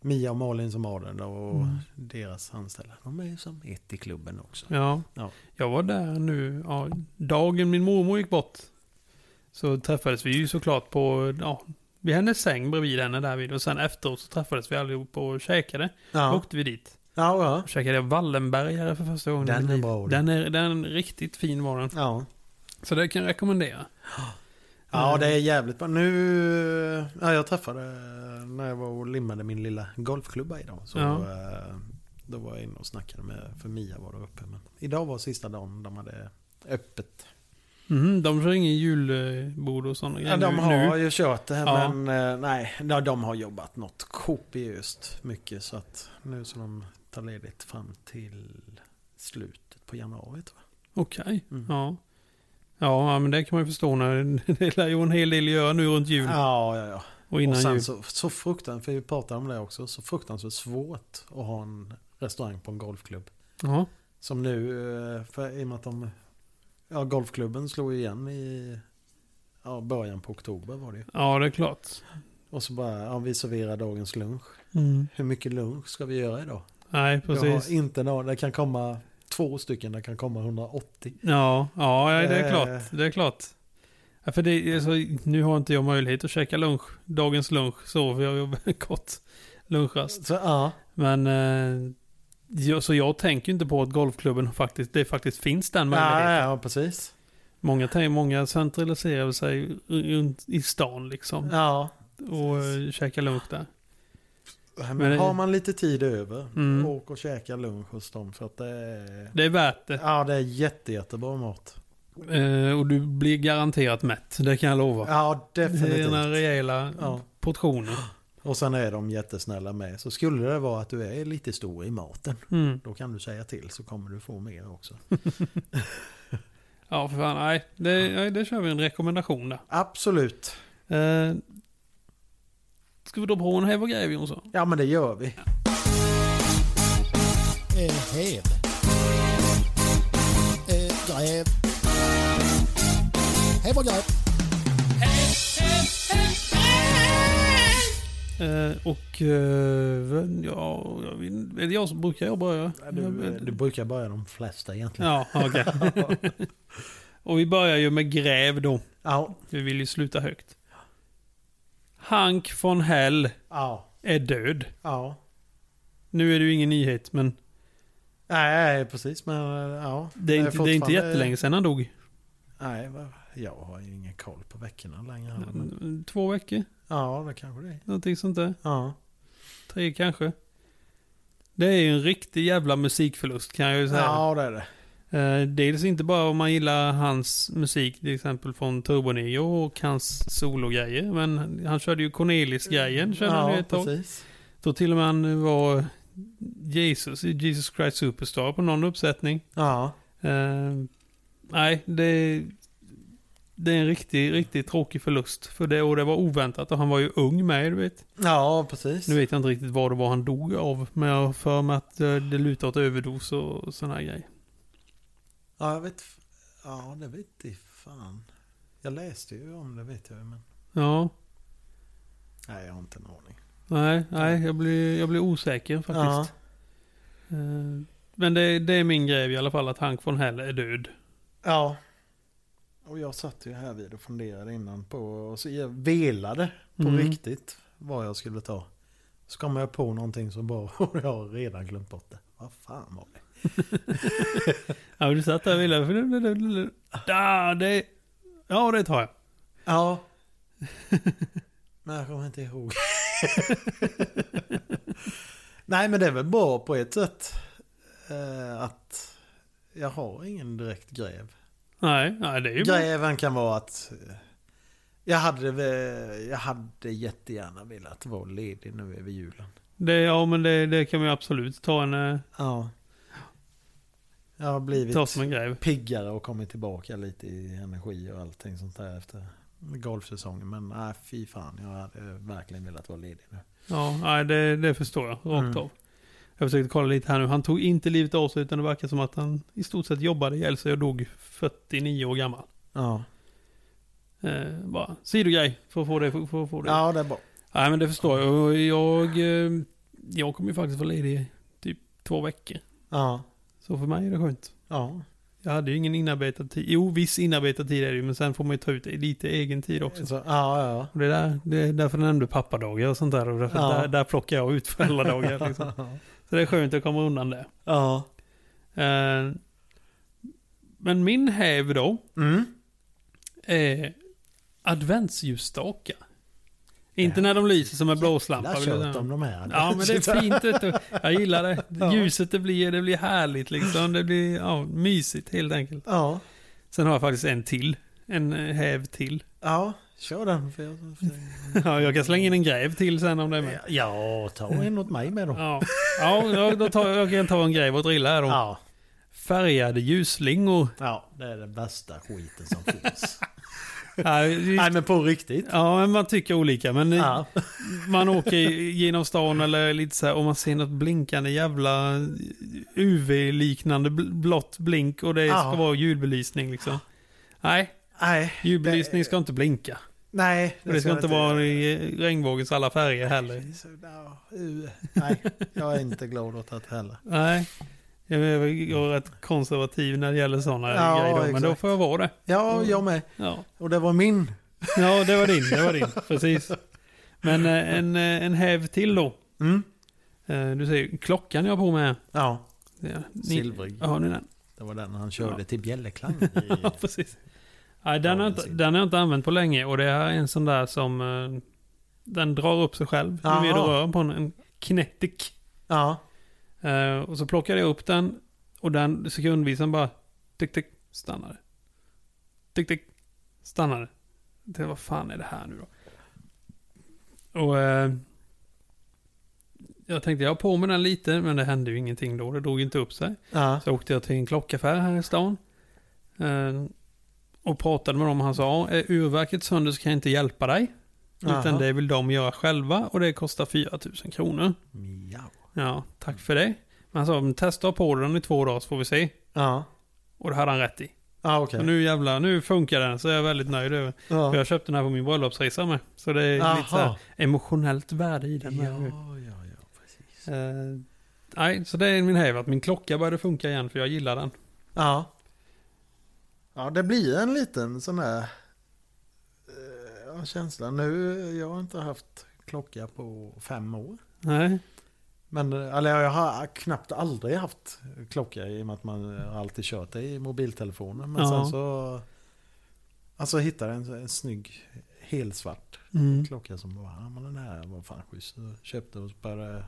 Mia och Malin som har den då, och Mm. deras anställda. De är ju som ett i klubben också. Ja. Ja. Jag var där nu, ja, dagen min mormor gick bort. Så träffades vi ju såklart på, ja, vid hennes säng bredvid henne där vid. Och sen efteråt så träffades vi allihop och käkade. Då Ja, åkte vi dit. ja. ja. Och käkade Wallenbergare för första gången. i Den mitt är liv. bra, den. Den är, den är riktigt fin var den. ja. Så det kan jag rekommendera. Ja, Mm. det är jävligt bra. Nu... Ja, jag träffade när jag var och limmade min lilla golfklubba idag. Så, Ja. eh, Då var jag inne och snackade med, för Mia var då uppe. Men idag var sista dagen de hade öppet. Mhm, de kör ingen julbord och sådana Mm. Ja, grejer de nu- har nu. ju kört det här Ja. men eh, nej, ja, de har jobbat något kopiöst mycket. Så att nu så de tar ledigt fram till slutet på januari tror jag. Okej, Mm. ja. Ja, ja, men det kan man ju förstå när det lär ju en hel del göra nu runt jul. Ja, ja, ja. Och innan och sen jul. så, så fruktansvärt, för vi pratade om det också, så fruktansvärt svårt att ha en restaurang på en golfklubb. Ja. Som nu, eh, för, i och med att de, ja, golfklubben slog ju igen i ja, början på oktober var det ju. ja, det är klart. Och så bara, ja, vi serverar dagens lunch. Hur mycket lunch ska vi göra idag? Nej, Mm. Jag har precis. inte någon, det kan komma två stycken, det kan komma 180. Ja, ja, ja, det Eh. är klart. Det är klart. Ja, för det, alltså, nu har inte jag möjlighet att käka lunch, dagens lunch, så för jag jobbar kort lunchrast. Så ja, Men eh, jag, så jag tänker ju inte på att golfklubben faktiskt, det faktiskt finns den möjligheten. ja, ja precis. Många, tänker- många centraliserar sig runt i stan liksom Ja. och eh, käkar lunch där. Men, Men det- har man lite tid över, Mm. åk och käka lunch hos dem för att det är... Det är värt det. Ja, det är jätte, jättebra mat. Eh, och du blir garanterat mätt, det kan jag lova. Ja, det är några definitivt. rejäla Ja. portioner. Och sen är de jättesnälla med. Så skulle det vara att du är lite stor i maten, Mm. då kan du säga till så kommer du få mer också. Ja, för fan. Nej, det, nej, det kör vi en rekommendation där. Absolut. Eh, ska vi dra på en häv och grej, Jonsson? Ja, men det gör vi. Eh, Häv. Eh, Gräv. Häv och gräv. Eh, och eh, ja, jag vet- är det jag som brukar jag börja? Du, eh, Jag- du brukar börja de flesta egentligen. Ja, okej. och vi börjar ju med gräv då. Ja. Vi vill ju sluta högt. Hank von Hell Ja. är död. Ja. Nu är det ju ingen nyhet, men Nej, precis. Men eh, ja. det är, inte, det är inte fortfarande- jättelänge sedan han dog. Nej, va- jag har ju ingen koll på veckorna längre. heller, Men, Mm. Två veckor, ja, det kanske det är. någonting sånt där. Ja. Tre kanske. Det är ju en riktig jävla musikförlust kan jag ju säga. Ja, det är det. Eh, dels inte bara om man gillar hans musik, till exempel från Turbo Neo och hans sologrejer. Men han körde ju Cornelis-grejen, körde han ju Ja, ett tag. precis. Då till och med han var Jesus, Jesus Christ Superstar på någon uppsättning. Ja. Eh, nej, det, det är en riktigt, riktigt tråkig förlust. För det, och det var oväntat och han var ju ung med, du vet. Ja, precis. Nu vet jag inte riktigt vad det var han dog av. Men jag har för mig att eh, det lutar åt överdos och sådana här grejer. Ja, jag vet. Ja, det vet i fan. Jag läste ju om det vet jag ju, men. Ja, Nej, jag har inte en aning. nej, nej, jag blir, jag blir osäker faktiskt. Ja. Eh, men det, det är min grej i alla fall att Hank von Hell är död. Ja. Och jag satt ju här vid och funderade innan på och så jag velade på Mm. riktigt vad jag skulle ta. Så kom jag på någonting som bara och jag har redan glömt bort det. Vad fan var det? Ja, du satt där och ville... Ja, det, ja, det tar jag. Ja. men jag kommer inte ihåg. Nej men det är väl bra på ett sätt. Eh, att jag har ingen direkt gräv. Nej, nej det är ju bra. Greven kan vara att eh, jag hade, väl- jag hade jättegärna velat vara ledig nu över julen. Det, ja, men det, det kan man ju absolut ta en... eh, Ja. Jag har Ta blivit som en grej. piggare och kommit tillbaka lite i energi och allting sånt där efter golfsäsongen. Men nej, fy fan. Jag hade verkligen velat vara ledig nu. Ja, nej, det, det förstår jag. Rakt Mm. av. Jag försökte kolla lite här nu. Han tog inte livet av sig utan det verkar som att han i stort sett jobbade ihjäl sig och dog 49 år gammal. Ja, Eh, bara sidogrej för att få det. För, för, att få det. ja det är bra. Nej, men det förstår jag. Och Jag, eh, jag kommer ju faktiskt vara ledig i typ två veckor. Ja, Så för mig är det skönt. ja. Jag hade ju ingen inarbetad tid. Jo, viss inarbetad tid är det ju, men sen får man ju ta ut lite egen tid också. Så, ja, ja. Och det, är där, det är därför jag nämnde pappadagar och sånt där. Och därför Ja. där, där plockar jag ut föräldradagar. Liksom. Så det är skönt att komma undan det. Ja. Eh, men min häv då Mm. är adventsljusstakar. Inte när de lyser som en blåslampa. Lär vill jag kört säga. om de här. Ja men det är fint. Vet du. Jag gillar det. Ja. Ljuset det blir, det blir härligt liksom. Det blir ja, mysigt helt enkelt. Ja. Sen har jag faktiskt en till. En eh, häv till. Ja, kör den. För jag, Ja, jag kan slänga in en gräv till sen om det är med. Ja, ta en åt mig med då. Ja, ja jag, då tar, jag kan ta en grej och drilla här då. Ja, Färgade ljusslingor. ja, det är den bästa skiten som finns. Ja, just- Nej, men på riktigt. ja, men man tycker olika. Men eh, Ja, man åker genom stan eller lite så här och man ser något blinkande jävla UV-liknande bl- blått blink och det ska Ja. vara julbelysning liksom. Nej, nej. julbelysning ska inte blinka. Nej, Och det ska inte vara i regnbågens alla färger heller. Så, ja, uh, Nej, jag är inte glad åt det heller. Nej, jag är väl- jag är rätt konservativ när det gäller sådana Ja, grejer. Då, men då exakt. får jag vara det. Ja, jag med. Ja. Och det var min. Ja, det var din. Det var din. Precis. Men eh, en, eh, en häv till då. Mm. Eh, Du ser klockan jag har på mig här. Ja, Det är- ni- silvrig. Ja, Har ni den? Det var den han körde Ja. till bjällerklang. i. Ja, precis. Nej, den, Ja, har den inte, ser- den har jag inte använt på länge och det är en sån där som eh, den drar upp sig själv. Ju mer du Jaha. rör på den. En kinetic. Ja, Eh, Och så plockade jag upp den och den sekundvisan bara tick tick stannade. Tick tick stannade. Det, vad fan är det här nu då? Och eh, jag tänkte jag har på mig den lite men det hände ju ingenting då. Det drog inte upp sig. ja, Så åkte jag till en klockaffär här i stan. Eh, och pratade med dem och han sa är urverket sönder så kan jag inte hjälpa dig. Utan Jaha. det vill de göra själva och det kostar 4000 kronor. miau. Ja, alltså, tack för det. Men han sa, "Men testa på den i två dagar så får vi se. Ja, Och det hade han rätt i. Ah, okej. Så nu jävlar, nu funkar den. Så jag är väldigt nöjd över. Ja. För jag köpte den här på min bröllopsresa med. Så det är lite så Aha. här emotionellt värde i den. med. Ja, ja, ja, precis. Eh, nej, så det är min häv att min klocka började funka igen för jag gillar den. Ja. Ja, det blir en liten sån här eh, ja, känsla. Nu, jag har inte haft klocka på fem år. Nej, Men, eh, eller jag har knappt aldrig haft klocka i och med att man har alltid kört det i mobiltelefonen. Men Ja. sen så... Alltså jag hittade en, en snygg helsvart Mm. klocka som bara, ja men den här var fan schysst. Så Köpte och så bara...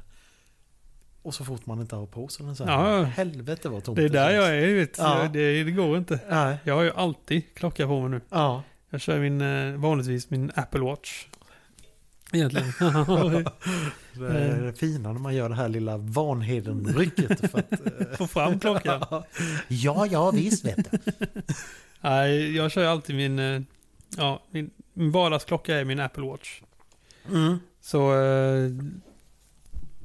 Och så fort man inte har på sig den så här, Ja. helvete vad tomt det är där känns. jag är. Vet. du. Ja. Det, det går inte. Nej. Jag har ju alltid klocka på mig nu. Ja. Jag kör min, eh, vanligtvis min Apple Watch. Egentligen. Det Eh. är det fina när man gör det här lilla Vanheden-rycket. för att, eh, Få fram klockan. ja, ja, visst vet du. Nej, jag kör ju alltid min, eh, ja, min, min vardagsklocka är min Apple Watch. Mm. Så, eh,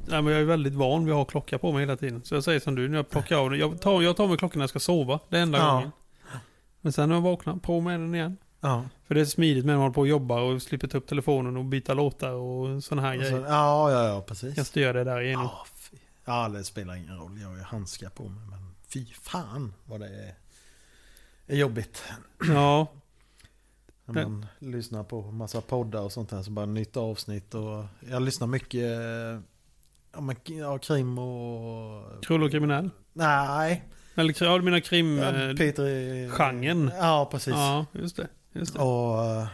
nej, men jag är väldigt van vid att ha klocka på mig hela tiden. Så jag säger som du, när jag plockar av den. Jag tar, jag tar med klockan när jag ska sova, det är enda Ja. gången. Men sen när jag vaknar, på med den igen. Ja, För det är smidigt när man håller på och jobbar och slipper ta upp telefonen och byta låtar och sådana här och så, grejer. ja, ja, ja, Jag precis. styr det där igenom. Ja, fy. ja, det spelar ingen roll. Jag har ju handskar på mig. Men fy fan vad det är, är jobbigt. Ja, När man lyssnar på massa poddar och sånt här. Så bara nytt avsnitt. Och jag lyssnar mycket eh, ja, men, ja, krim och... krull och kriminell. Nej. Eller ja, du menar krim... ja, eh, Peter... genren. Ja, precis. Ja, just det. Just det. Och eh,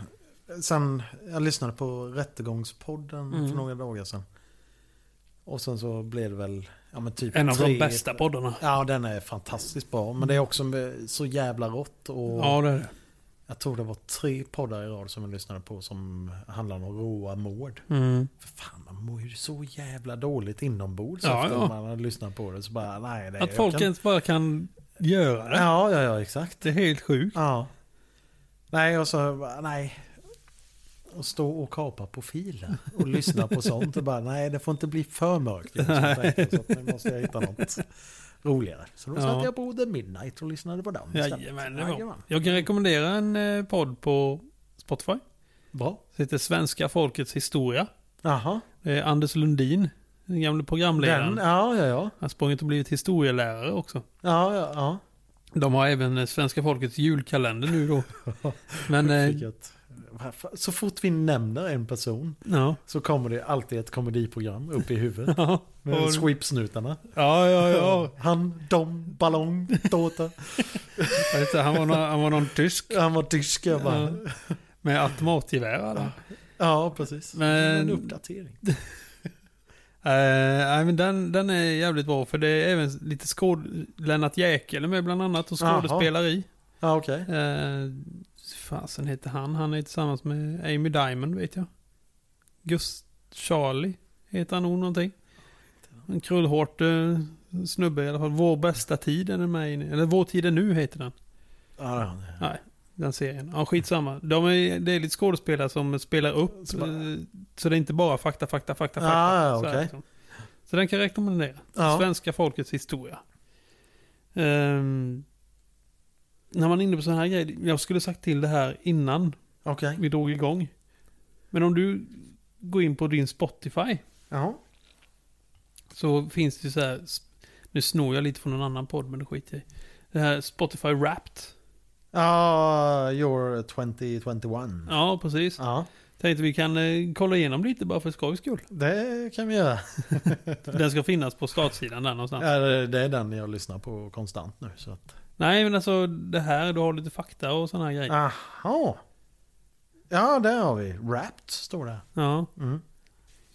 sen, jag lyssnade på Rättegångspodden Mm. för några dagar sedan. Och sen så blev det väl, ja men typ En av tre- de bästa poddarna. Ja, den är fantastiskt bra. Men det är också så jävla rått. Och Ja, det är det. Jag tror det var tre poddar i rad som jag lyssnade på som handlar om råa mord. Mm. För fan, man mår ju så jävla dåligt inombords Ja, efter ja. man har lyssnat på det. Så bara, nej, det Att jag folk Eh, kan- ens bara kan göra det. Ja, ja, ja, exakt. Det är helt sjukt. Ja. Nej, och så bara, nej. Och stå och kapa på filen och lyssna på sånt. Och bara, nej, det får inte bli för mörkt. Jag måste tänka, Så att nu måste jag hitta något roligare. Så då Ja. satt jag på The Midnight och lyssnade på den. istället. Jajamän, det var. Jajamän. Jag kan rekommendera en eh, podd på Spotify. Bra. Det heter Svenska folkets historia. Jaha. Det är Anders Lundin, den gamle programledaren. Den, ja, ja, ja. Han har sprungit och blivit historielärare också. Ja, ja, ja. De har även eh, Svenska folkets julkalender nu då. Men, eh, Fick jag ett- varför- Så fort vi nämner en person ja. så kommer det alltid ett komediprogram upp i huvudet. Ja, Med sweepsnutarna. ja, ja. ja. Han, dom, ballong, tårta. Jag vet inte, Han, var någon, han var någon tysk Han var tysk. Jag bara, Ja. med automatgevär. hade han. Ja, precis. Men- En uppdatering. Eh, nej, men den, den är jävligt bra för det är även lite skåd... Lennart Jäkel är med bland annat och Jaha. skådespeleri. Ja, okej. Eh, fasen heter han? Han är tillsammans med Amy Diamond vet jag. Gust Charlie heter han nog någonting. En krullhårt eh, snubbe i alla fall. Vår bästa tid är den med in, i. Eller Vår tid är nu heter den. Ja, Den serien. Ja, skitsamma. De är, det är lite skådespelare som spelar upp. Så bara- eh, Så det är inte bara fakta, fakta, fakta, fakta. Ah, så, här okej. liksom. så den kan jag rekommendera. Ja. Svenska folkets historia. Ehm, när man är inne på sådana här grejer. Jag skulle sagt till det här innan okej. vi drog igång. Men om du går in på din Spotify. Ja. Så finns det ju så här. Nu snor jag lite från en annan podd men det skiter jag i. Det här Spotify Wrapped. Ja, you're 2021. Mm. Ja. Ja, precis. Tänkte vi kan eh, kolla igenom lite bara för skojs skull. det kan vi göra. Den ska finnas på startsidan där någonstans. Ja, det det är den jag lyssnar på konstant nu. Så att. Nej men alltså det här, du har lite fakta och sådana här grejer. Aha. Ja, där har vi. Wrapped står det. Ja. Mm.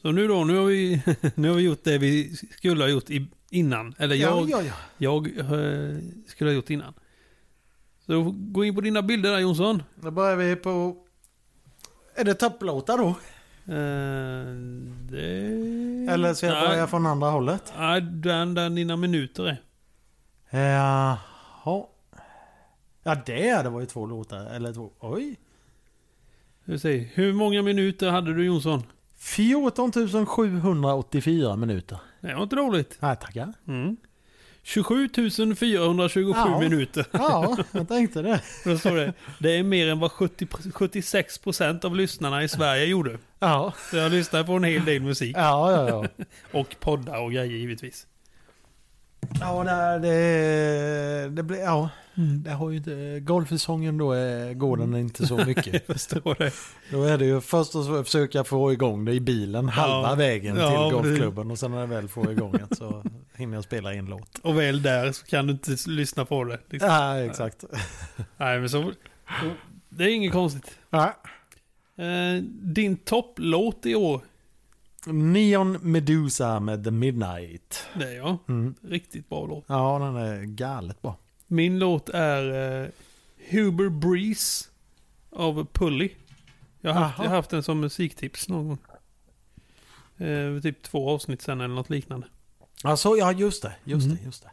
Så nu då, nu har, vi, nu har vi gjort det vi skulle ha gjort i, innan. Eller jag, ja, ja. jag eh, skulle ha gjort innan. Så gå in på dina bilder där Jonsson. Då börjar vi på... Är det topplåtar då? Eh, det... Eller ska jag börja från andra hållet? Eh, Nej, den där dina minuter är. Jaha. Ja, det, det var ju två låtar. Eller två... Oj. Du säger, hur många minuter hade du Jonsson? 14 784 minuter. Det var inte roligt. Nej, tackar. Mm. 27 427 Ja. minuter. Ja, jag tänkte det. Då står det. Det är mer än vad 70, 76% av lyssnarna i Sverige gjorde. Ja, Så jag lyssnar på en hel del musik. ja, ja. ja. Och poddar och grejer givetvis. Ja, det, det, det blir, ja. Mm, Det har ju inte, eh, golfsäsongen då är, går den inte så mycket. Jag förstår det. Då är det ju först att försöka få igång det i bilen halva Ja. vägen Ja, till precis. golfklubben och sen när jag väl får igång det så hinner jag spela en låt. Och väl där så kan du inte lyssna på det. Liksom. Ja, exakt. Nej, men så, så, det är inget konstigt. Ja. Eh, din topplåt i år, Neon Medusa med The Midnight. det är jag. Mm. Riktigt bra låt. Ja, den är galet bra. Min låt är eh, Huber Breeze av Pully. Jag har, haft, Aha. jag har haft den som musiktips någon gång. Eh, typ två avsnitt sen eller något liknande. Alltså, ja, just det. Just Mm. det, just det.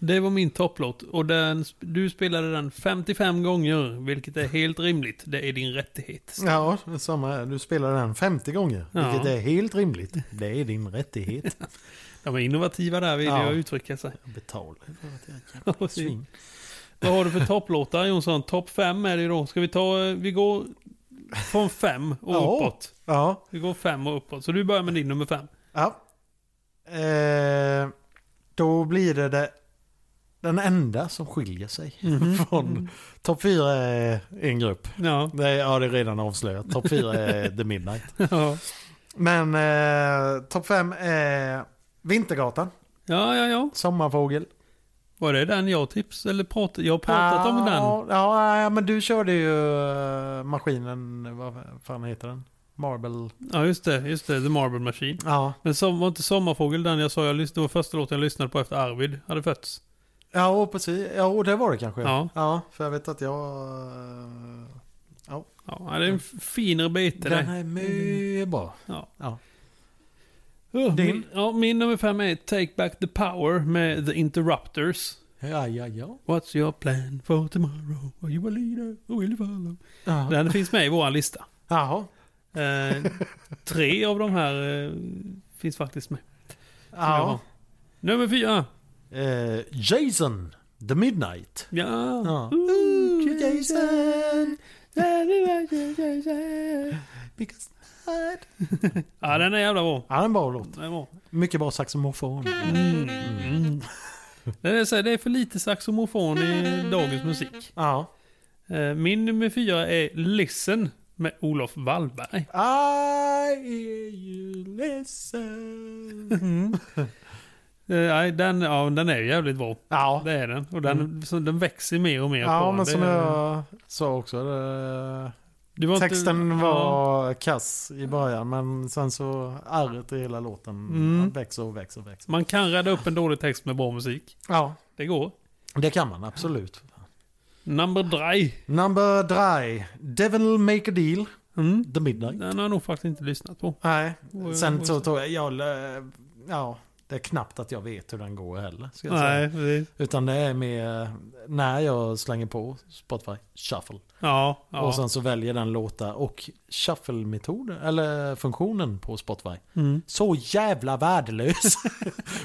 Det var min topplåt och den, du spelade den 55 gånger, vilket är helt rimligt. Det är din rättighet. Ja, samma. här. Du spelar den 50 gånger, Ja. vilket är helt rimligt. Det är din rättighet. De är innovativa där, vill Ja. jag uttrycka sig. Jag betalar för att jag är ett Ja, jävla precis. svin. Vad har du för topplåtar Jonsson? Topp fem är det ju då. Ska vi ta, eh, vi går från fem och Ja. uppåt. Ja, Vi går fem och uppåt. Så du börjar med din nummer fem. ja. Eh, då blir det, det den enda som skiljer sig Mm. från... Topp fyra är en grupp. Ja. Det är, ja, det är redan avslöjat. Topp fyra är The Midnight. ja, Men eh, topp fem är Vintergatan, ja, ja. Sommarfågel. Var det den jag tips eller pratade? Jag har pratat om den. Ja, Ja, ja, men du körde ju eh, maskinen, vad fan heter den? Marble. Ja, just det. Just det. The Marble Machine. Ja, Men som, var inte Sommarfågel den jag sa? Jag lyssnade, det var första låten jag lyssnade på efter Arvid hade fötts. ja och precis. Ja, och det var det kanske. Ja. ja för jag vet att jag... eh, Ja, det är en f- finare bete Den det. är mycket bra. Ja. Ja. Oh, Din? min, ja, min nummer fem är Take Back The Power med The Interrupters. Ja, ja, ja. What's your plan for tomorrow? Are you a leader or will you follow? Jaha. Den finns med i vår lista. Jaha. Eh, tre av de här eh, finns faktiskt med. som jag har. Ja. Nummer fyra. Eh, Jason, The Midnight. Ja. Ja. Ooh, Jason. Because I- Ja, den är jävla bra. Ja, det är en bra låt. Den är bra. Mycket bra saxofon. Mm. Det är, så här, det är för lite saxofon i dagens musik. Ja. Eh, Min nummer fyra är Listen med Olof Wallberg. I hear you listen. Eh, Nej, den, ja, den är jävligt bra. Ja, Mm. Det är den. Och den, så den växer mer och mer. på ja en. men det, som jag sa också. Det, det var inte- texten Ja, var kass i början men sen så ärret i hela låten Mm. växer och växer och växer. man kan rädda upp en dålig text med bra musik. Ja, Det går. det kan man absolut. Number Dry. Number Dry, Devil Make A Deal, Mm. The Midnight. Den har jag nog faktiskt inte lyssnat på. Nej, Oj, sen oj, så oj. tog jag, jag, lä- ja, det är knappt att jag vet hur den går heller. Ska jag säga. Nej, precis. Utan det är mer när jag slänger på Spotify, shuffle. Ja, ja. Och sen så väljer den låtar och shuffle-metoden, eller funktionen på Spotify. Mm. Så jävla värdelös.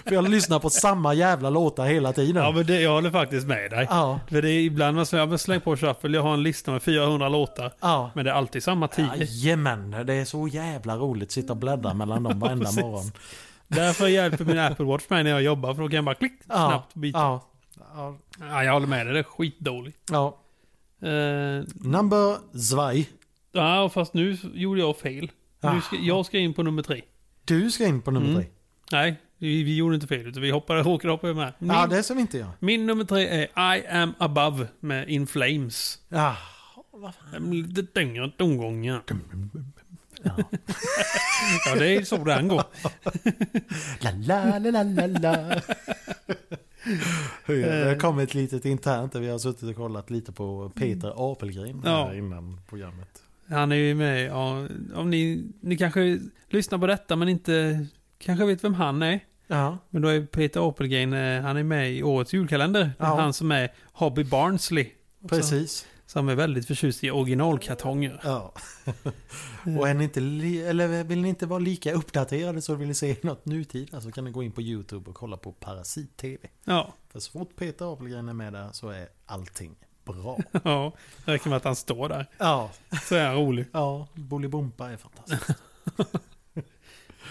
För jag lyssnar på samma jävla låtar hela tiden. ja, Ja, men det, jag håller faktiskt med dig. ja, För det är ibland man säger, släng på shuffle, jag har en lista med 400 låtar. ja. Men det är alltid samma tio. Jajamän, det är så jävla roligt att sitta och bläddra mellan dem varenda precis. morgon. Därför hjälper min Apple Watch mig när jag jobbar, för då kan jag bara klick, Ja, snabbt byta. Ja. Ja. ja, jag håller med dig, det är skitdåligt. ja. Eh, Number zwei. Ja, fast nu gjorde jag fel. Ah. Nu ska, jag ska in på nummer tre. Du ska in på nummer Mm. tre. Nej, vi, vi gjorde inte fel. Utan vi hoppade, råkade hoppa över med. Min, Ja, det som inte jag. min nummer tre är I am above med In Flames. Ja. En Lite tyngre tomgång, ja. ja, det är så den går. La, la, la, la, la, la. Eh. Det har kommit ett litet internt där vi har suttit och kollat lite på Peter Apelgren här Ja. innan programmet. Han är ju med ja, om ni, ni kanske lyssnar på detta men inte kanske vet vem han är. Ja. Men då är Peter Apelgren, eh, han är med i årets julkalender. Det är Ja. Han som är Hobby Barnsley. Precis. Som är väldigt förtjust i originalkartonger. Ja. Och är ni inte li- eller vill ni inte vara lika uppdaterade så vill ni se något nutida så kan ni gå in på YouTube och kolla på Parasit TV. Ja, För så fort Peter Apelgren är med där så är allting bra. ja. Räcker med att han står där. ja, Så är han rolig. ja, Bolibompa är fantastiskt.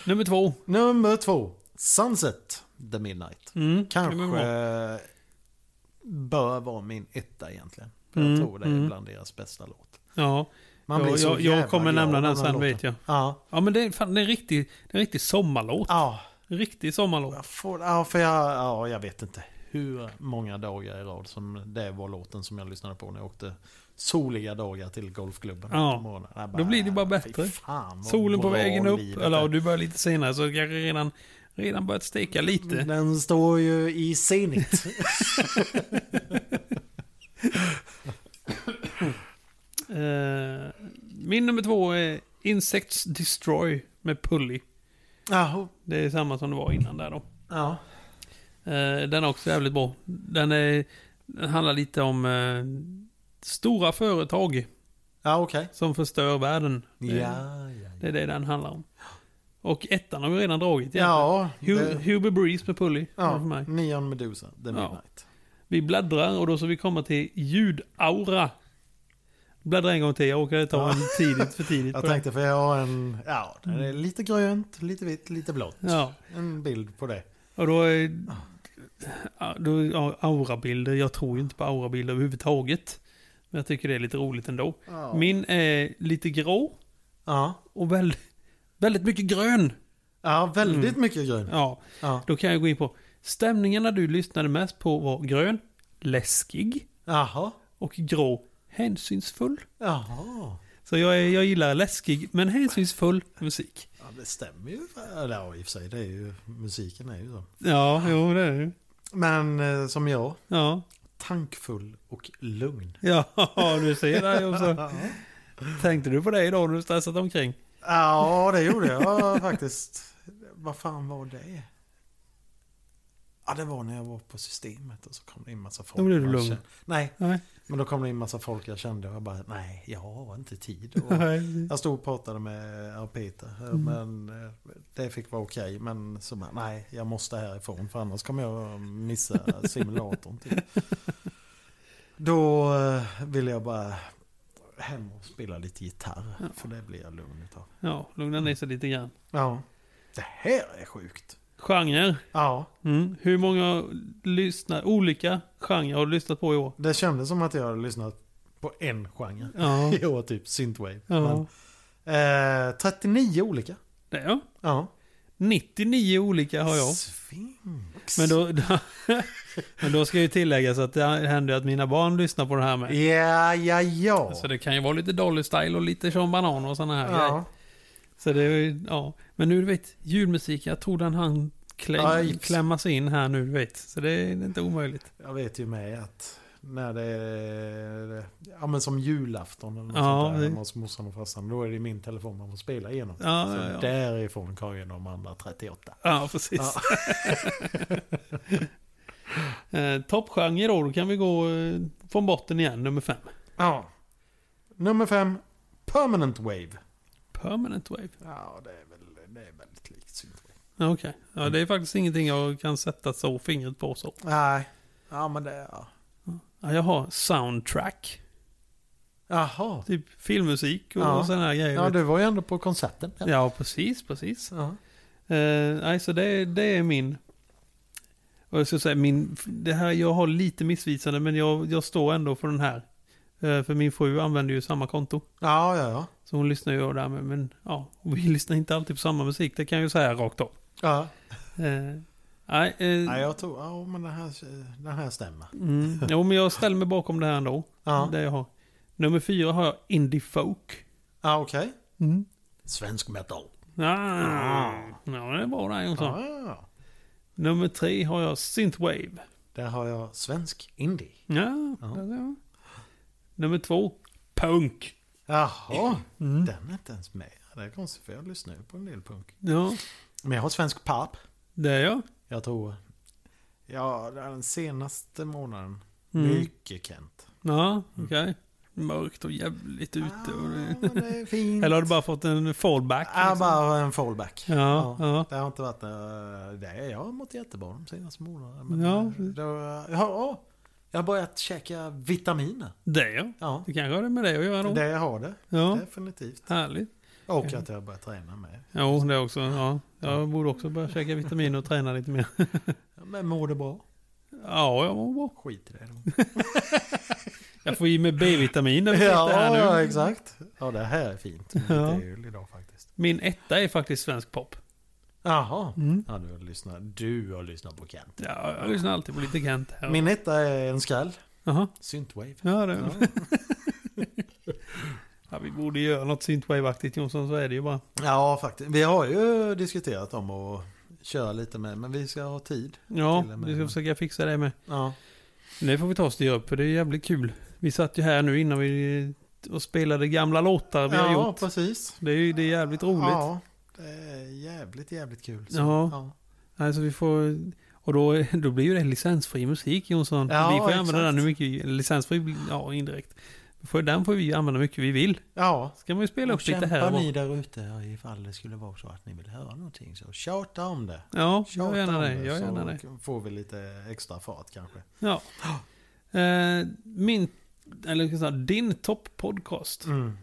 Nummer två. Nummer två, Sunset The Midnight. Mm. Kanske nummer bra. bör vara min etta egentligen. För Mm, Jag tror det är mm. bland deras bästa låt. Ja, Man blir jag, så jag, jävla jag kommer glad nämna av den här sen låten. vet jag. Ja, Ja, men det är, fan, det är en riktig, det är en riktig sommarlåt. ja. En riktig sommarlåt. Jag får, ja, för jag, ja, jag vet inte hur många dagar i rad som det var låten som jag lyssnade på när jag åkte soliga dagar till golfklubben. Ja. på morgonen. Jag Då blir det bara fy bättre. Fan, vad Solen på bra vägen upp, livet eller är. ja, du börjar lite senare så kanske redan, redan börjat steka lite. Den står ju i senit. Eh, min nummer två är Insects Destroy med Pully. Jaha. Det är samma som det var innan där då. Ja. Eh, den är också jävligt bra. Den, är, den handlar lite om eh, stora företag Ja, okej. som förstör världen. Det, Ja, ja, ja. det är det den handlar om. Och ettan har vi redan dragit. Ja, Hu- det, Huber Breeze med Pully. var det För ja mig. Neon Medusa, The Ja. Midnight. Vi bläddrar och då så vi kommer till ljudaura. Bläddra en gång till, jag åker ta en tidigt för tidigt. på Jag det. Mm. tänkte för jag har en, ja, den är lite grönt, lite vitt, lite blått. Ja, En bild på det. och då är... Ah. ja, Då, ja, aurabilder, jag tror ju inte på aurabilder överhuvudtaget. Men jag tycker det är lite roligt ändå. Ja. Min är lite grå Ja, och väldigt, väldigt mycket grön. ja väldigt Mm. mycket grönt. Ja, Ja. då kan jag gå in på. Stämningarna du lyssnade mest på var grön, läskig Jaha. och grå, hänsynsfull. Jaha. Så jag, är, jag gillar läskig men hänsynsfull musik. Ja, det stämmer ju. Eller ja, i och för sig, det är ju, musiken är ju så. Ja, jo det är det. Men eh, som jag, Ja, tankfull och lugn. ja du ser det också. Tänkte du på det idag när du stressat omkring? Ja, det gjorde jag faktiskt. Vad fan var det? Ja, det var när jag var på systemet och så kom det in massa folk. Då blev du jag lugn. kände- Nej, Nej. men då kom det in massa folk jag kände och jag bara, nej, jag har inte tid. Och Nej. jag stod och pratade med ja, Peter, eh, Mm. men eh, det fick vara okej. Men så bara, nej, jag måste härifrån för annars kommer jag missa simulatorn. Typ. Då eh, ville jag bara hem och spela lite gitarr, för det blir jag lugn utav. Ja, lugna ner sig lite grann. Ja. Det här är sjukt. Genre. Ja, Mm. Hur många lyssnar, olika genrer har du lyssnat på i år? det kändes som att jag hade lyssnat på en genre. Ja. I år typ synthwave. ja. Men, eh, 39 olika. Det är jag. Ja. 99 olika har jag. Sphinx. Men då, då, men då ska ju tilläggas att det händer ju att mina barn lyssnar på det här med. Ja, ja, ja. Så det kan ju vara lite Dolly Style och lite Sean Banan och sådana här grejer. Ja. Så det är ju- ja. Men nu du vet, julmusik, jag tror den han kläm, Aj. klämmas in här nu du vet. Så det är inte omöjligt. Jag vet ju med att när det är ja, men som julafton eller något Ja, sånt där, det- hemma hos morsan och farsan, då är det min telefon man får spela igenom. Ja, Så ja, ja. därifrån kan ju de andra 38. Ja, precis. eh, Toppgenre då, då kan vi gå eh, från botten igen, nummer fem. Ja. Nummer fem, Permanent Wave. Permanent Wave. Ja, det är väl det är väldigt likt Synthwave. Ja, Okej. Ja, det är faktiskt ingenting jag kan sätta så fingret på så. Nej. Ja, men det... Ja. Ja, jag har soundtrack. Jaha. Typ filmmusik och Ja. sådana här grejer. Ja, du var ju ändå på konserten. ja precis, precis. Ja. Eh, nej, så det, det är min... Och jag ska säga, min, det här, jag har lite missvisande, men jag, jag står ändå för den här. Eh, för min fru använder ju samma konto. Ja, ja, ja. Så hon lyssnar ju där med, men ja, vi lyssnar inte alltid på samma musik, det kan jag ju säga rakt av. ja. Eh, nej, eh, Nej, jag tror... Ja, men den här, den här stämmer. mm, jo, men jag ställer mig bakom det här ändå. Ja, Det jag har. Nummer fyra har jag Indie Folk. ja okej. Mm. Svensk metal. Ah, ja, det är bra där Jonsson. Ja. Nummer tre har jag Synthwave. Där har jag svensk indie. Ja, Ja. där ser man. Nummer två, punk. Jaha. Mm. Den är inte ens med. Det är konstigt för jag lyssnar ju på en del punk. Ja, Men jag har svensk pop. det är jag. Jag tror... Ja, den senaste månaden. Mm. Mycket Kent. Ja, okej. mörkt och jävligt ute. Och Ja, det... men Ah, det är fint. Ah. Eller har du bara fått en fallback? Ja, liksom? bara en fallback. Ja, ja. Det har inte varit... eh, Det är, jag har mått jättebra de senaste månaderna. Men Ja, eh, precis. då, ja, ja, jag har börjat käka vitaminer. Det ja. Ja, Det kanske har det med det att göra då. det har det. Ja, Definitivt. härligt. Och att jag har börjat träna med. Jo, det också. Ja. Jag borde också börja käka vitaminer och träna lite mer. Ja, Men mår det bra? Ja, jag mår bra. Skit i det då. Jag får i mig B-vitamin när vi sitter här Ja, nu. ja, exakt. Ja, det här är fint. Lite Ja. jul idag faktiskt. Min etta är faktiskt svensk pop. Jaha. Mm. Ja, du har lyssnat, du har lyssnat på Kent. Ja, jag lyssnar alltid på lite Kent. här. Min etta är en skall. Jaha. Synthwave. Ja, Ja. det. Ja, vi borde göra något synthwave-aktigt Jonsson, så är det ju bara. ja, faktiskt. Vi har ju diskuterat om att köra lite med, men vi ska ha tid. Ja, Till och med. vi ska försöka fixa det med. Ja. Nu får vi ta oss till upp, för det är jävligt kul. Vi satt ju här nu innan vi och spelade gamla låtar vi har Ja, gjort. precis. Det är ju det är jävligt roligt. Ja, det är jävligt, jävligt kul. Så, Ja. ja. Alltså vi får... Och då, då blir ju det licensfri musik Jonsson. Ja, vi får ju använda exakt. den hur mycket... Licensfri, ja indirekt. Får- Den får vi ju använda hur mycket vi vill. ja. Ska man ju spela Och upp lite här kämpar och var. ni där ute ifall det skulle vara så att ni vill höra någonting så tjata om det. Ja, Tjata jag gärna om det. Jag så gärna det. får vi lite extra fart kanske. Ja. Eh, min... Eller ska jag säga, din topppodcast. Mm.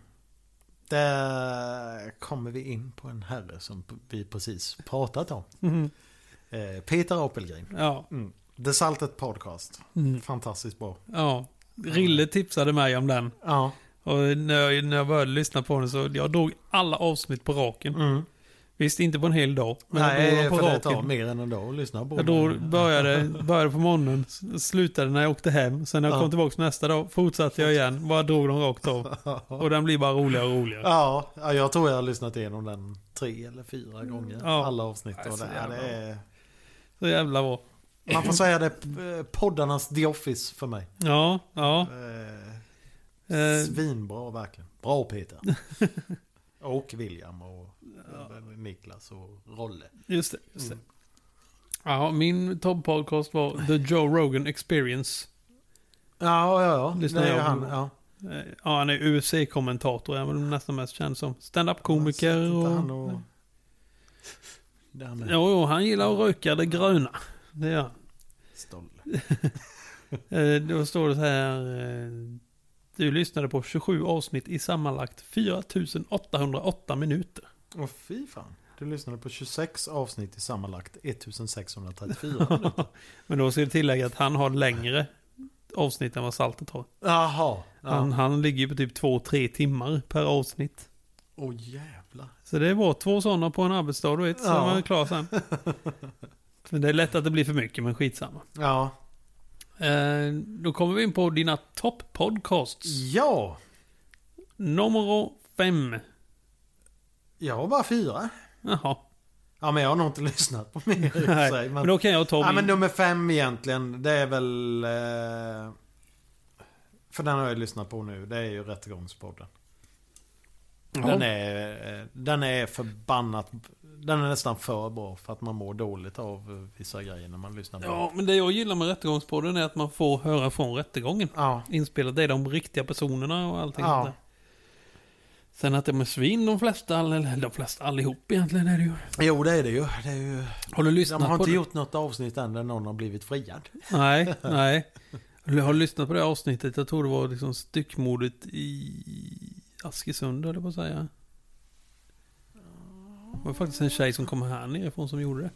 Där kommer vi in på en herre som p- vi precis pratat om. Mhm. Eh, Peter Apelgren. Ja. Mm. The Salted Podcast. Mm. Fantastiskt bra. Ja. Rille tipsade mig om den. Ja. Och när jag, när jag började lyssna på den så jag drog alla avsnitt på raken. Mm. Visst, inte på en hel dag. Men Nej, jag drog för dem det på tar raken. mer än en dag att lyssna på. Jag drog, Men- började, började på morgonen, s- slutade när jag åkte hem. Sen när jag Ja. kom tillbaka nästa dag fortsatte jag igen. Bara drog dem rakt av. Och den blir bara roligare och roligare. Ja, ja, jag tror jag har lyssnat igenom den tre eller fyra gånger. Mm, Ja. Alla avsnitt. Nej, Och så det, ja, det jävla är, Så jävla bra. man får säga det är poddarnas The Office för mig. Ja, ja. Eh, Eh, Svinbra verkligen. Bra Peter. och William och eh, Niklas och Rolle. Just det. Just det. Mm. Ja, min topp-podcast var The Joe Rogan Experience. Ja, ja, ja. Lyssnar det är ju jag han. på. Ja. Eh, Ja, han är UFC-kommentator. Han är väl nästan mest känd som stand-up-komiker Alltså, Sitter och... Han och... Där med Jo, jo, han gillar att röka det gröna. Det gör han. Stolle. Eh, Då står det så här. eh, Du lyssnade på 27 avsnitt i sammanlagt 4808 minuter. Åh fy fan. Du lyssnade på 26 avsnitt i sammanlagt 1634 minuter. Men då ska jag tillägga att han har längre avsnitt än vad Saltet har. Jaha. Han, Ja. han ligger ju på typ 2-3 timmar per avsnitt. Åh jävlar. Så det var två sådana på en arbetsdag, du vet. Så Ja. var man klar sen. Men det är lätt att det blir för mycket, men skitsamma. Ja. Eh, Då kommer vi in på dina topp-podcasts. Ja. Mm. Nummer fem. Jag har bara fyra. Jaha. Ja men jag har nog inte lyssnat på mer i och för Nej, sig. men då kan jag ta Ja, min. men nummer fem egentligen, det är väl... Eh, för den har jag lyssnat på nu, det är ju Rättegångspodden. Den, är, eh, den är förbannat... Den är nästan för bra för att man mår dåligt av eh, vissa grejer när man lyssnar på den. Ja, men det jag gillar med Rättegångspodden är att man får höra från rättegången. Ja. Inspelat, det är de riktiga personerna och allting Ja. sånt där. Sen att de är svin, de flesta, all- eller de flesta allihop egentligen är det ju. Jo, det är det ju. Det är ju Har du lyssnat de har på inte det? gjort något avsnitt än där någon har blivit friad. Nej, nej. Jag har lyssnat på det avsnittet, jag tror det var liksom styckmordet i Askesund, höll jag på att säga. Det var faktiskt en tjej som kom här nerifrån som gjorde det.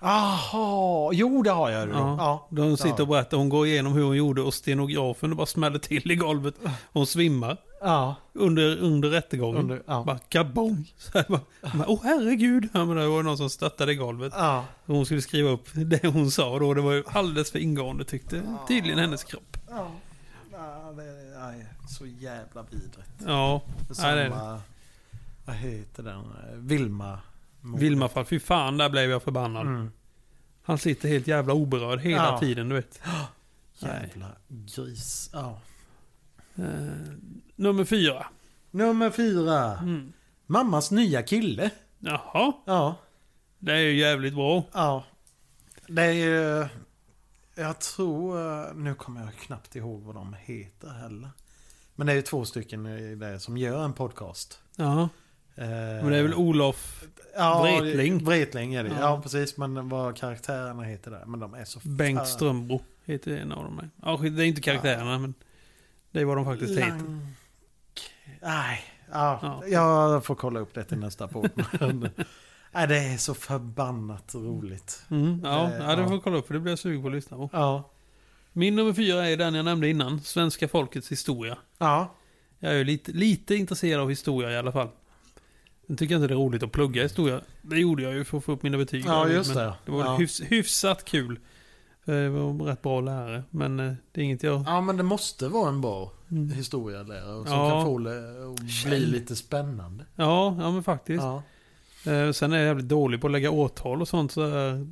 Jaha, jo det har jag ju. Ja. Ja. Då hon sitter Ja. och berättar, hon går igenom hur hon gjorde och stenografen det bara smäller till i golvet. Hon svimmar Ja. under, under rättegången. Under, ja. Bara kabong! Så här bara, bara, Åh herregud! Ja, men det var någon som stöttade i golvet. ja. Hon skulle skriva upp det hon sa då. Det var ju alldeles för ingående tyckte tydligen hennes kropp. Ja. Ja, det är, nej, så jävla vidrigt. Ja, Samma, det är Vad heter den? Vilma. Vilma fall. Fy fan, där blev jag förbannad. Mm. Han sitter helt jävla oberörd hela Ja. tiden, du vet. Jävla gris. Ja. Eh, nummer fyra. Nummer fyra. Mm. Mammas nya kille. Jaha, Ja. det är ju jävligt bra. Ja. Det är ju... Jag tror, eh, nu kommer jag knappt ihåg vad de heter heller. Men det är ju två stycken i det som gör en podcast. Ja, Eh, men det är väl Olof Wretling? Vretling är det. Ja. Ja. precis. Men vad karaktärerna heter där. Men de är så Bengt Strömbro heter en av dem. Ja, skit, det är inte karaktärerna, men det är vad de faktiskt heter. Lang... Nej, ja, Ja. jag får kolla upp det till nästa podd. Men, Nej, det är så förbannat roligt. Mm, ja, Eh, ja, det ja. får jag kolla upp för det blir jag sugen på att lyssna på. Ja, Min nummer fyra är den jag nämnde innan, Svenska folkets historia. ja, Jag är ju lite, lite intresserad av historia i alla fall. Sen tycker jag inte det är roligt att plugga historia. Det gjorde jag ju för att få upp mina betyg. ja just Men det. Det var Ja. hyfs, hyfsat kul. Eh, Det var en rätt bra lärare, men eh, det är inget jag... ja, men det måste vara en bra Mm. historielärare som Ja. kan få det att bli lite spännande. Ja, ja men faktiskt. Ja. Eh, Sen är jag jävligt dålig på att lägga årtal och sånt så här,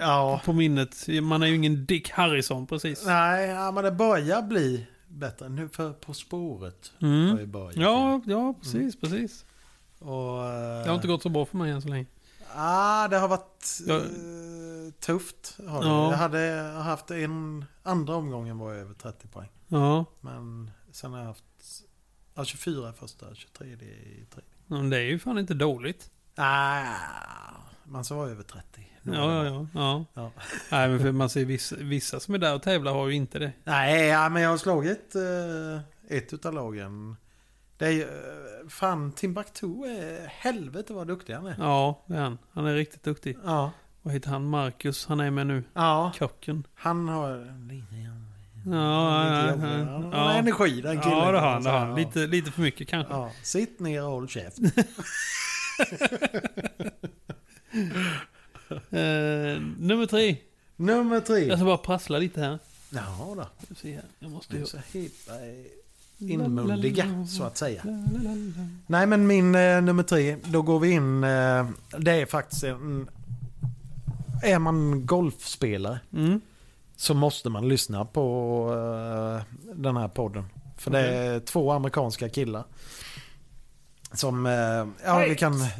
ja, på minnet. Man är ju ingen Dick Harrison precis. nej, ja, men det börjar bli bättre. Nu för På spåret har Mm. ju börjat. Ja, ja, Mm. precis, precis. Och, eh, Det har inte gått så bra för mig än så länge. Ja, det har varit Ja. eh, tufft. Har det. Ja. Jag hade jag har haft en... Andra omgången var jag över 30 poäng. Ja, Men sen har jag haft ja, 24 första, 23 i tredje. men det är ju fan inte dåligt. Ah, man ska vara över 30. Ja, ja, ja. ja. Ja. Nej, men för man ser vissa, vissa som är där och tävlar har ju inte det. Nej, ja, men jag har slagit eh, ett utav lagen. Det är ju... eh, Fan, Timbuktu är... Helvete vad duktig han är. Ja, det är han. Han är riktigt duktig. Ja. Vad heter han? Marcus? Han är med nu. Ja, Kocken. han har... Han Ja, ja, ja, har ja. energi den killen. Ja, det har han. Det har Ja. han. Lite, lite för mycket kanske. Ja, sitt ner och håll käft. Eh, nummer tre. Nummer tre. Jag ska bara prassla lite här. Ja, då. Ska vi se här. Jag måste Du är ju... så himla eh, inmundiga, så att säga. La, la, la, la. Nej, men min eh, nummer tre, då går vi in... Eh, det är faktiskt en... Är man golfspelare Mm. så måste man lyssna på eh, den här podden. För det är två amerikanska killar. Som... Eh, ja, vi kan...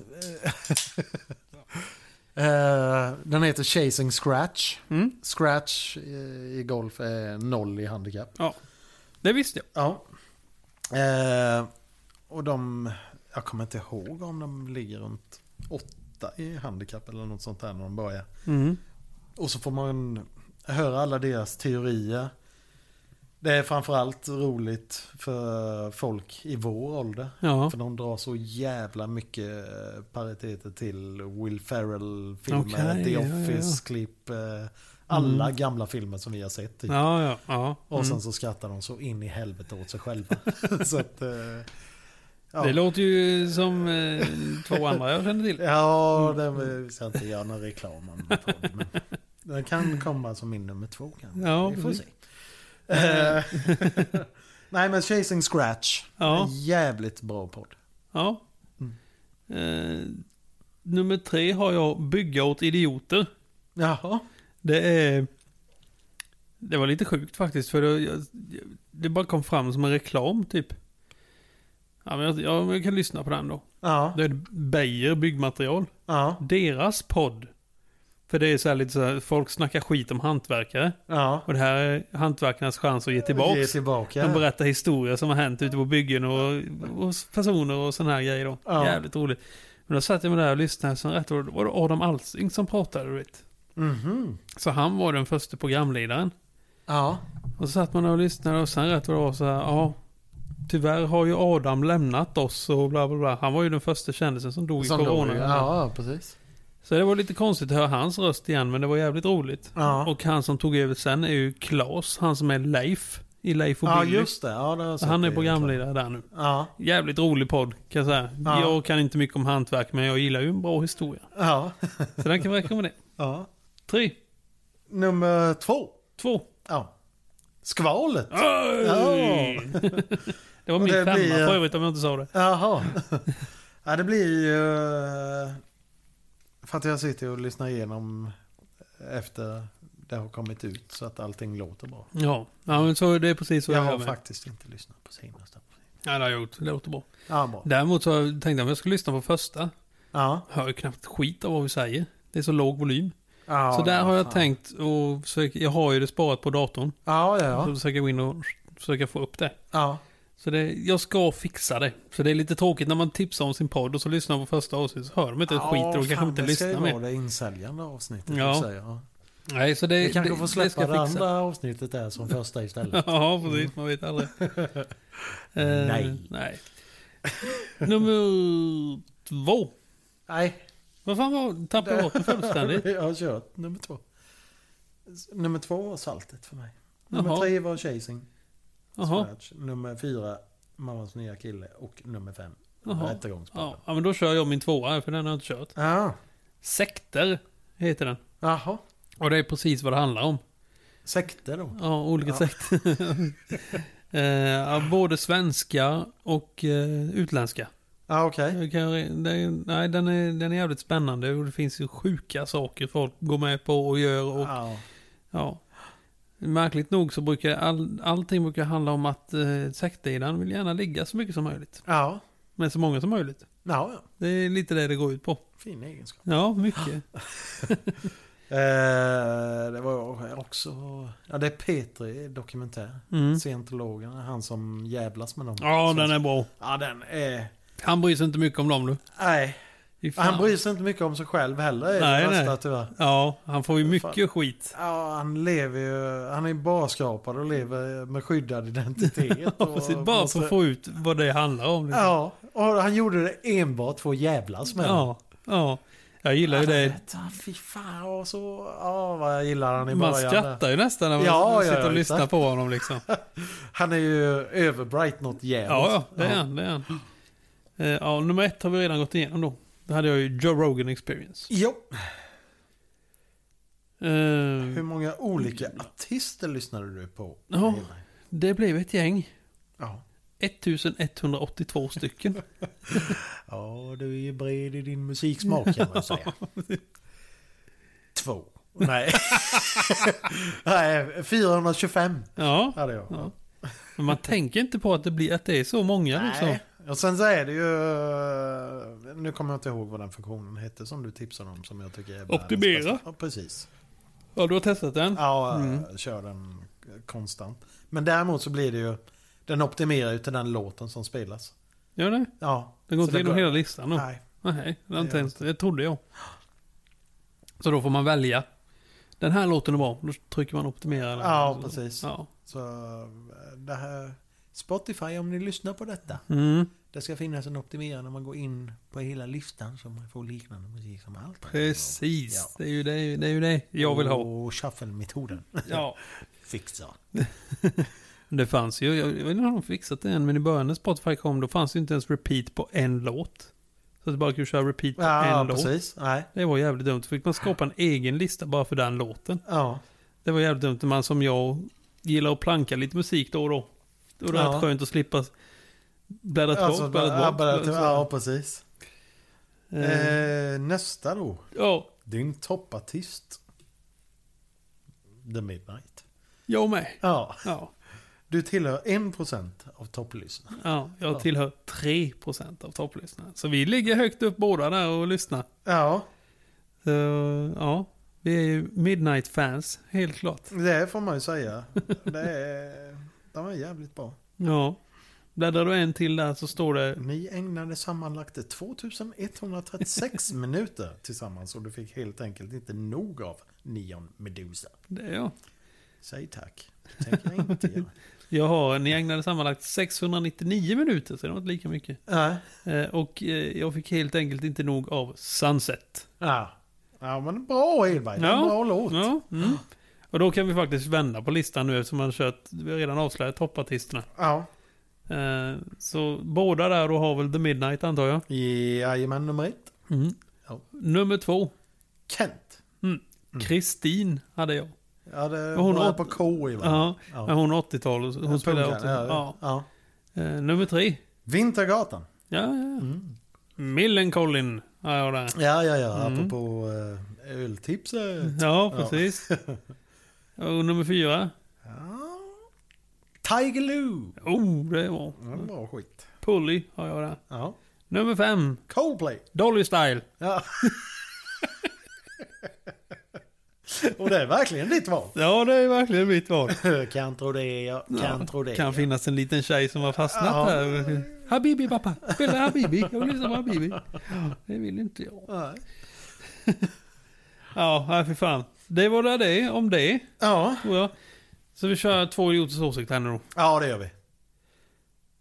Eh, den heter Chasing Scratch. Mm. Scratch eh, i golf är noll i handikapp. Det visste jag. Ja. Eh, och de, jag kommer inte ihåg om de ligger runt åtta i handikapp eller något sånt där när de börjar. Mm. Och så får man höra alla deras teorier. Det är framförallt roligt för folk i vår ålder. Ja. För de drar så jävla mycket eh, pariteter till Will Ferrell-filmer, Okej, The ja, ja, ja. Office-klipp, eh, alla Mm. gamla filmer som vi har sett. Typ. Ja, ja, ja. Och Mm. sen så skrattar de så in i helvete åt sig själva. så att, eh, ja. Det låter ju som eh, två andra jag känner till. Mm. Ja, det ska jag inte göra någon reklam om. på det, Men den kan komma som min nummer två. Kan. Ja, mm. Vi får se. precis. Eh, Nej, men Chasing Scratch. Ja. En jävligt bra podd. Ja. Mm. Eh, nummer tre har jag Bygga åt idioter. Jaha. Det är... Det var lite sjukt faktiskt för det, jag, det bara kom fram som en reklam typ. Ja, men jag, ja, men jag kan lyssna på den då. Ja. Det är Beijer byggmaterial. Ja. Deras podd. För det är så här lite så här, folk snackar skit om hantverkare. Ja. Och det här är hantverkarnas chans att ge tillbaks. Ge tillbaka. De berättar historier som har hänt ute på byggen och, och hos personer och sådana här grejer då. Ja. Jävligt roligt. Men då satt jag med där och lyssnade, så rätt var det var det Adam Alsing som pratade, du vet. Mhm. Så han var den första programledaren. Ja. Och så satt man där och lyssnade och sen rätt vad det var så här, ja. Tyvärr har ju Adam lämnat oss och bla bla bla. Han var ju den första kändisen som dog i Som corona. då- Ja, precis. Så det var lite konstigt att höra hans röst igen, men det var jävligt roligt. Ja. Och han som tog över sen är ju Claes, han som är Leif i Leif och Ja, Billy. just det. Ja, det har jag sett Han är det. programledare där nu. Ja. Jävligt rolig podd kan jag säga. Ja. Jag kan inte mycket om hantverk men jag gillar ju en bra historia. Ja. Så den kan vi rekommendera. ja. Tre, Nummer två. två. Ja. Skvalet. Oj! Ja. Det var min Det femma blir- för övrigt om jag inte sa det. Jaha. ja, det blir ju... eh, För att jag sitter och lyssnar igenom efter det har kommit ut så att allting låter bra. Ja, ja men så det är precis så jag jag, har gör med. faktiskt inte lyssnat på senaste. Ja, det har jag gjort. Det låter bra. Ja, bra. Däremot så tänkte jag att jag skulle lyssna på första. Ja, Hör ju knappt skit av vad vi säger. Det är så låg volym. Ja, så där har jag fan. tänkt och försöker, jag har ju det sparat på datorn. Ja, ja, Så ja. försöker jag gå in och försöka få upp det. ja. Så det, jag ska fixa det. Så det är lite tråkigt när man tipsar om sin podd och så lyssnar man på första avsnittet så hör de inte ett skit och då kanske inte lyssnar mer. Det ska ju mer. vara det insäljande avsnittet. Ja. Ja. Säger. jag. Nej, så det, Vi kanske det, får det ska släppa jag det fixa. andra avsnittet där som första istället. Ja, precis. Man vet aldrig. Eh, Nej. nej. Nummer två. Nej, Vad fan var Tappade jag bort det fullständigt? jag har kört nummer två. S- Nummer två var saltet för mig. Nummer Jaha. tre var chasing. Jaha. Scratch. Nummer fyra, mammas nya kille. Och nummer fem, Jaha. rättegångspodden. Ja, ja, men då kör jag min tvåa här, för den har jag inte kört. Ja. Sekter heter den. Jaha. Och det är precis vad det handlar om. Sekter då? Ja, olika Ja. sekter. eh, ja, både svenska och eh, utländska. Ja, okej. Jag kan, det, är- nej, den är, den är jävligt spännande och det finns ju sjuka saker folk går med på och gör. Och, Ja. ja. Märkligt nog så brukar all, allting brukar handla om att eh, sektledaren vill gärna ligga så mycket som möjligt. Ja. Med så många som möjligt. Ja, ja. Det är lite det det går ut på. Fin egenskap. Ja, mycket. Eh, det var också... Ja, det är Petri dokumentär. Mm. Scientologerna, han som jävlas med dem. Ja, den är bra. Ja, den är... Han bryr sig inte mycket om dem nu. Nej, Fy fan. han bryr sig inte mycket om sig själv heller i Nej, det värsta nej. tyvärr. Ja, han får ju mycket Fan. skit. Ja, han lever ju... Han är barskrapad och lever med skyddad identitet. Ja, och precis. Bara för att måste- få ut vad det handlar om. liksom. Ja, och han gjorde det enbart för att jävlas med dem. ja, ja. Jag gillar ju det. Ja, ah, Fy fan, och så... Ja, vad jag gillar han i Man början. skrattar ju nästan när man Ja, ja, sitter och ja, lyssnar exakt. på honom liksom. Ja, Han är ju över bright något jävligt. ja, det är han. Det är han. Eh, Ja, nummer ett har vi redan gått igenom då. Då hade jag ju Joe Rogan Experience. Jo, hur Eh, många olika artister lyssnade du på? Ja. Det blev ett gäng. Ja. 1182 stycken. ja, du är ju bred i din musiksmak kan man säga. Två. Nej. Nej, 425 Ja. hade jag. ja. Men man tänker inte på att det, blir, att det är så många liksom. Nej. Och sen så är det ju... eh, Nu kommer jag inte ihåg vad den funktionen hette som du tipsade om som jag tycker är världens Optimera. bästa. Ja, precis. Ja, du har testat den? Ja, mm. kör den konstant. Men däremot så blir det ju... Den optimerar ju till den låten som spelas. Gör det? Ja. Den går så inte igenom hela listan då? Nej. Nej. Nej, det är Det inte gör ens, det trodde jag. Så då får man välja. Den här låten är bra, då trycker man optimera. den. Ja, Så- precis. Ja. Så eh, det här... Spotify, om ni lyssnar på detta. Mm, Det ska finnas en optimerare när man går in på hela listan så man får liknande musik som allt. precis, Ja. Oh. det, är ju det, det är ju det jag vill ha. Oh, Och shuffle-metoden. Ja. Fixa. Det fanns ju, jag jag vet inte om de fixat det än, men i början när Spotify kom då fanns det ju inte ens repeat på en låt. Så att du bara kunde köra repeat på Ja, en låt. precis. Nej. Det var jävligt dumt. Fick man skapa en egen lista bara för den låten. Ja. Det var jävligt dumt när man som jag gillar att planka lite musik då och då. Då är det Ja. ja. skönt att slippa bläddra tillbaka. Alltså, bara, bläddra ja, tillbaka, bara, bläddra ja, precis. tillbaka. Eh, Eh, nästa då. Ja, Din toppartist. The Midnight. jag med. Ja, Ja, du tillhör 1% av topplyssnarna. ja, jag Ja. tillhör 3% av topplyssnarna. Så vi ligger högt upp båda där och lyssnar. Ja, Så, ja, vi är ju Midnight-fans, helt klart. det får man ju säga. Det är, de är jävligt bra. Ja. Bläddrar du en till där så står det... Ni ägnade sammanlagt 2136 minuter tillsammans och du fick helt enkelt inte nog av Neon Medusa. Det är jag. Säg tack. Tänker jag inte göra. Jag har, ni ägnade sammanlagt 699 minuter, så det var inte lika mycket. Nej. Eh, Och eh, jag fick helt enkelt inte nog av Sunset. Ja. ja, men bra Edberg. Det är en Ja. bra låt. Ja. Mm. Och då kan vi faktiskt vända på listan nu eftersom man kört, vi har redan avslöjat toppartisterna. Ja. Eh, så båda där då har väl The Midnight antar jag. Jajamän, nummer ett. Mm. Ja. Mm. Nummer två, Kent. Kristin hade jag. Ja, det hon hon har- har på K i va? Ja, Ja. men hon är 80-tal. och så- Hon spelar Punkan, 80 ja. ja. ja. Eh, nummer tre, Vintergatan. ja, ja. Mm. Millencolin har jag där. Ja, ja, ja. Mm. Apropå eh, öltipset. Ja, precis. och nummer fyra, Ja. Tiger Lou. oh, det var Ja, bra skit. Pulley har jag där. Ja. Nummer fem, Coldplay. Dolly Style. Ja. Och det är verkligen ditt val. Ja, det är verkligen mitt val. Kan tro det, jag kan tro det. Kan finnas en liten tjej som har fastnat Ja. här. Habibi pappa, spela Habibi. Jag vill lyssna på Habibi. Ja, Det vill inte jag. Ja. Ja, nej, för fan. Det var det det om det, Ja. tror jag. Så vi kör två idioters åsikt här nu då. ja, det gör vi.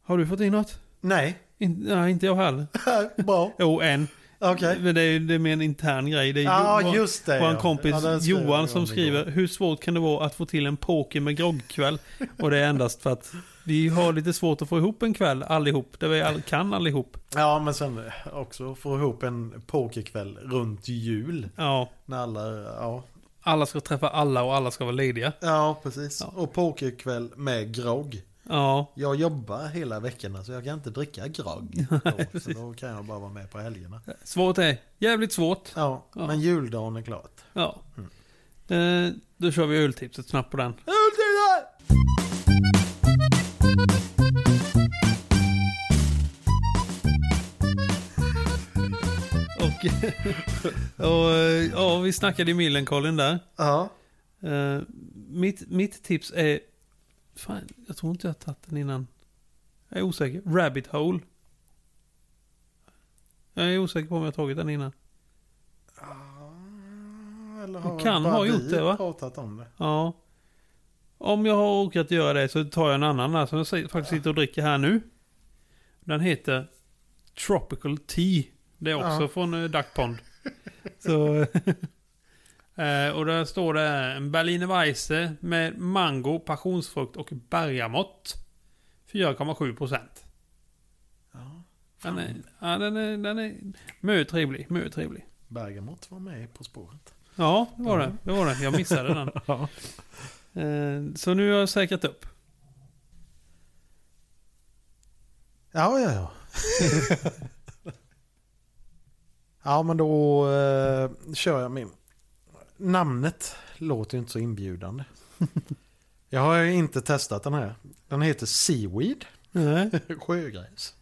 Har du fått in något? Nej, In, nej, inte jag heller. bra. Jo, en. Okej. Men det är, det är mer en intern grej. Det är Ja, Johan- just det, Vår ja. kompis Ja, den skrev Johan jag som om skriver igår. Hur svårt kan det vara att få till en poker med groggkväll? Och det är endast för att vi har lite svårt att få ihop en kväll allihop. Där vi all, kan allihop. Ja, men sen också få ihop en pokerkväll runt jul. Ja, När alla, ja. alla ska träffa alla och alla ska vara lediga. Ja, precis. Ja. Och pokerkväll med grogg. Ja, Jag jobbar hela veckorna så jag kan inte dricka grogg. Då, så då kan jag bara vara med på helgerna. svårt är jävligt svårt. Ja, Ja. men juldagen är klart. Ja. Eh, då kör vi öltipset snabbt på den. Jultidar! Och, och eh, ja, vi snackade i Millencolin där. Ja. Eh, mitt, mitt tips är... Fan, jag tror inte jag har tagit den innan. Jag är osäker. Rabbit Hole. Jag är osäker på om jag har tagit den innan. Eller har Kan bara ha vi gjort det, va? pratat om det? Ja. Om jag har orkat göra det så tar jag en annan där som jag si- faktiskt sitter och dricker här nu. Den heter Tropical Tea. Det är också Ja. från eh, Duck Pond. så, eh, och där står det en Berliner Weisse med mango, passionsfrukt och bergamott. 4,7 procent. Ja. Den är, ja, den är, den är mycket trevlig, mycket trevlig. Bergamot var med På spåret. Ja, det var det. Det var det. Jag missade den. Eh, Så nu har jag säkrat upp. Ja, ja, ja. ja, men då eh, kör jag min. Namnet låter ju inte så inbjudande. jag har ju inte testat den här. Den heter Seaweed. Sjögräs.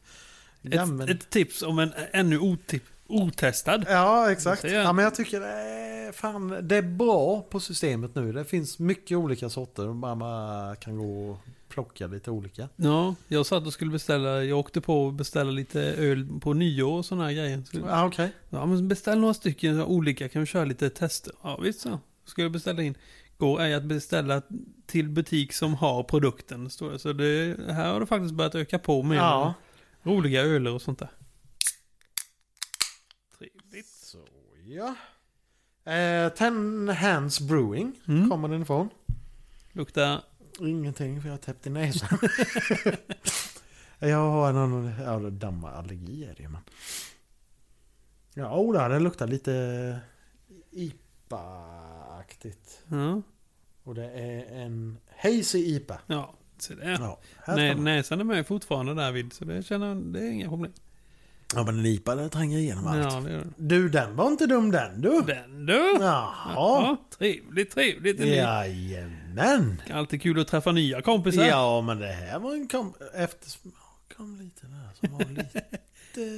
Ett, Gammel. ett tips om en ännu otip, otestad. Ja, exakt. Det ser jag. Ja, men jag tycker det är, fan, det är bra på systemet nu. Det finns mycket olika sorter. Bara man kan gå och plocka lite olika. Ja, jag satt och skulle beställa, jag åkte på att beställa lite öl på nyår och sådana här grejer. Så, Ja, okej. ja, men beställ några stycken olika, kan vi köra lite tester? Ja, visst så. Ska jag beställa in. Går ej att beställa till butik som har produkten, står det. Så det, här har det faktiskt börjat öka på med Ja. roliga öler och sånt där. Trevligt. Så ja. Eh, Ten Hands Brewing Mm. kommer den ifrån. Luktar Ingenting för jag har täppt i näsan. jag har någon ja, det är dammallergi är det ju, men. Ja, oh, det luktar lite IPA-aktigt. Ja, Och det är en Hazy IPA. ja. Så det Ja, här Nej, ska man. näsan är med fortfarande där vid, så det känner jag, det är inga problem. ja men en IPA den tränger igenom allt. Ja, det gör Du, den var inte dum den du. det. Den du! Jaha. Ja, trevligt, trevligt. Ja. Jajamän. Alltid kul att träffa nya kompisar. Ja, men det här var en kom... Eftersmak kom lite där som var lite...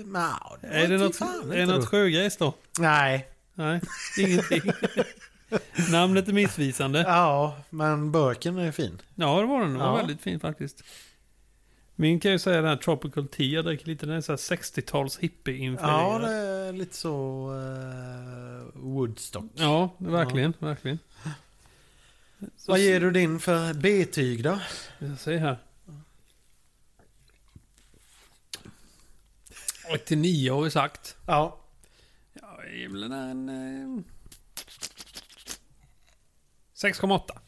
Nja, det var är det inte något, fan är det inte något dumt. sjögräs då? Nej. Nej, ingenting. Namnet är missvisande. Ja, men burken är fin. Ja, det var den. Den var Ja. väldigt fin faktiskt. Min kan ju säga den här Tropical Tea, jag dricker lite den är så här 60-tals Ja, hippie-influerad. det är lite så... eh, Woodstock. ja, verkligen, verkligen. Så, Vad ger du din för B-tyg då? Jag säger här. 89 har vi sagt. Ja. Ja, det är väl en... eh, 6,8.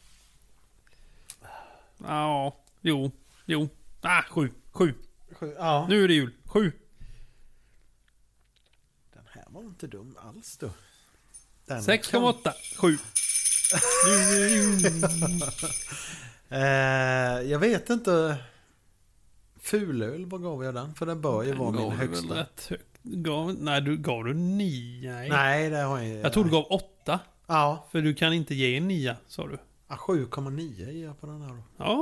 Ja, jo, jo. Ah, 7, 7. Sju- Ja. Nu är det jul. 7. Den här var inte dum alls då. Den 6,8. 7. Eh, jag vet inte. Fulöl, vad gav jag den? För den bör ju vara min Gav du väl högsta. rätt högt? Gav, nej, du, gav du 9? Nej. Nej, det har jag inte. Jag tror du gav 8. Ja, För du kan inte ge en 9, sa du. ja, 7,9 ger jag på den här då. Ja,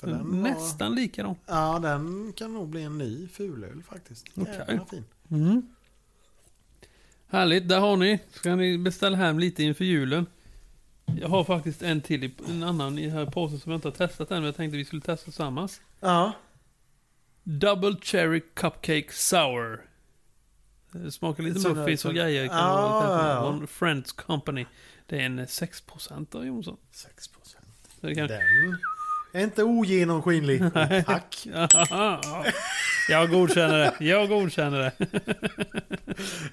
För den var- nästan likadan. Ja, den kan nog bli en ny fulöl faktiskt. Okej. Jävla fin. Mm. Härligt, där har ni. Ska ni beställa hem lite inför julen? Jag har faktiskt en till, i- en annan i här påsen som jag inte har testat än, men jag tänkte vi skulle testa tillsammans. Ja. Double Cherry Cupcake Sour. Det smakar lite Sån där- muffins och sån- grejer. Kan Ja, vara lite här Ah, ja, ja. från Friends Company. Det är en eh, 6% Jonsson. 6 procent. Så det kan... Den är inte ogenomskinlig. Tack. jag godkänner det. Jag godkänner det.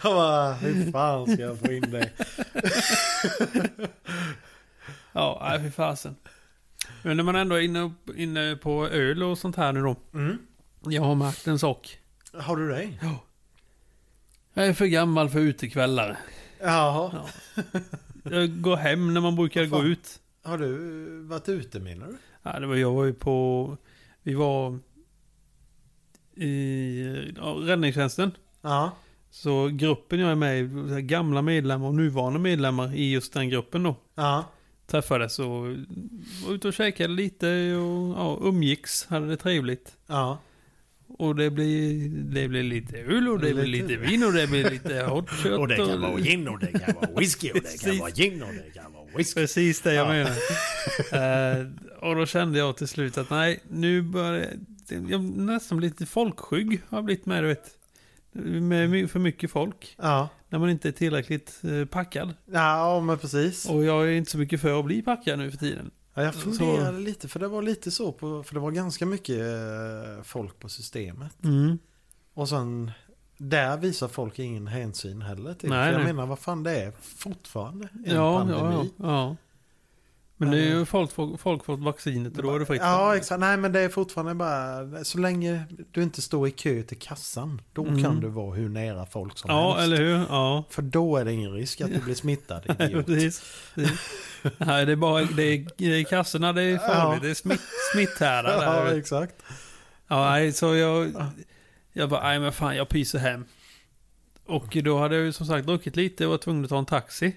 Jag bara, hur fan ska jag få in det? Ja, nej, fy fasen. Men när man ändå är inne, inne på öl och sånt här nu då. Mm. Jag har märkt en sak. Har du det? Jag är för gammal för utekvällar. Jaha. Ja. Jag går hem när man brukar Vad fan? gå ut. Har du varit ute menar du? Ja, det var, jag var ju på... Vi var i ja, räddningstjänsten. Ja. Så gruppen jag är med i, så här gamla medlemmar och nuvarande medlemmar i just den gruppen då. Ja. Träffades och var ute och käkade lite och ja, umgicks. Hade det trevligt. Ja. Och det blir, det blir lite öl och det blir Lite. lite vin och det blir lite hot shot. Och det kan vara gin och det kan vara whisky och det kan Precis. vara gin och det kan vara whisky. Precis det jag menar. Eh, och då kände jag till slut att nej, nu börjar jag... jag nästan blir lite folkskygg har jag blivit med, du vet. Med my- för mycket folk. Ja. När man inte är tillräckligt eh, packad. Ja, men precis. Och jag är inte så mycket för att bli packad nu för tiden. Ja, jag Så- funderade lite, för det var lite så, på, för det var ganska mycket eh, folk på systemet. Och sen, där visar folk ingen hänsyn heller till. Nej, för jag nej. menar, vad fan det är fortfarande en Ja, ja, ja, pandemi. ja. Men det är ju folk, folk, folk fått vaccinet och då är det fritt. Ja, exakt. Nej, men det är fortfarande bara, så länge du inte står i kö till kassan, då Mm. kan du vara hur nära folk som Ja, helst. eller hur? Ja. För då är det ingen risk att du blir smittad, idiot. Precis. Nej, det är bara det är, det är kassorna, det är farligt. Ja. Det är smitt, smitthärdar. Ja, där. exakt. Ja, nej, så jag... Jag bara, nej men fan, jag pyser hem. Och då hade jag ju som sagt druckit lite och var tvungen att ta en taxi.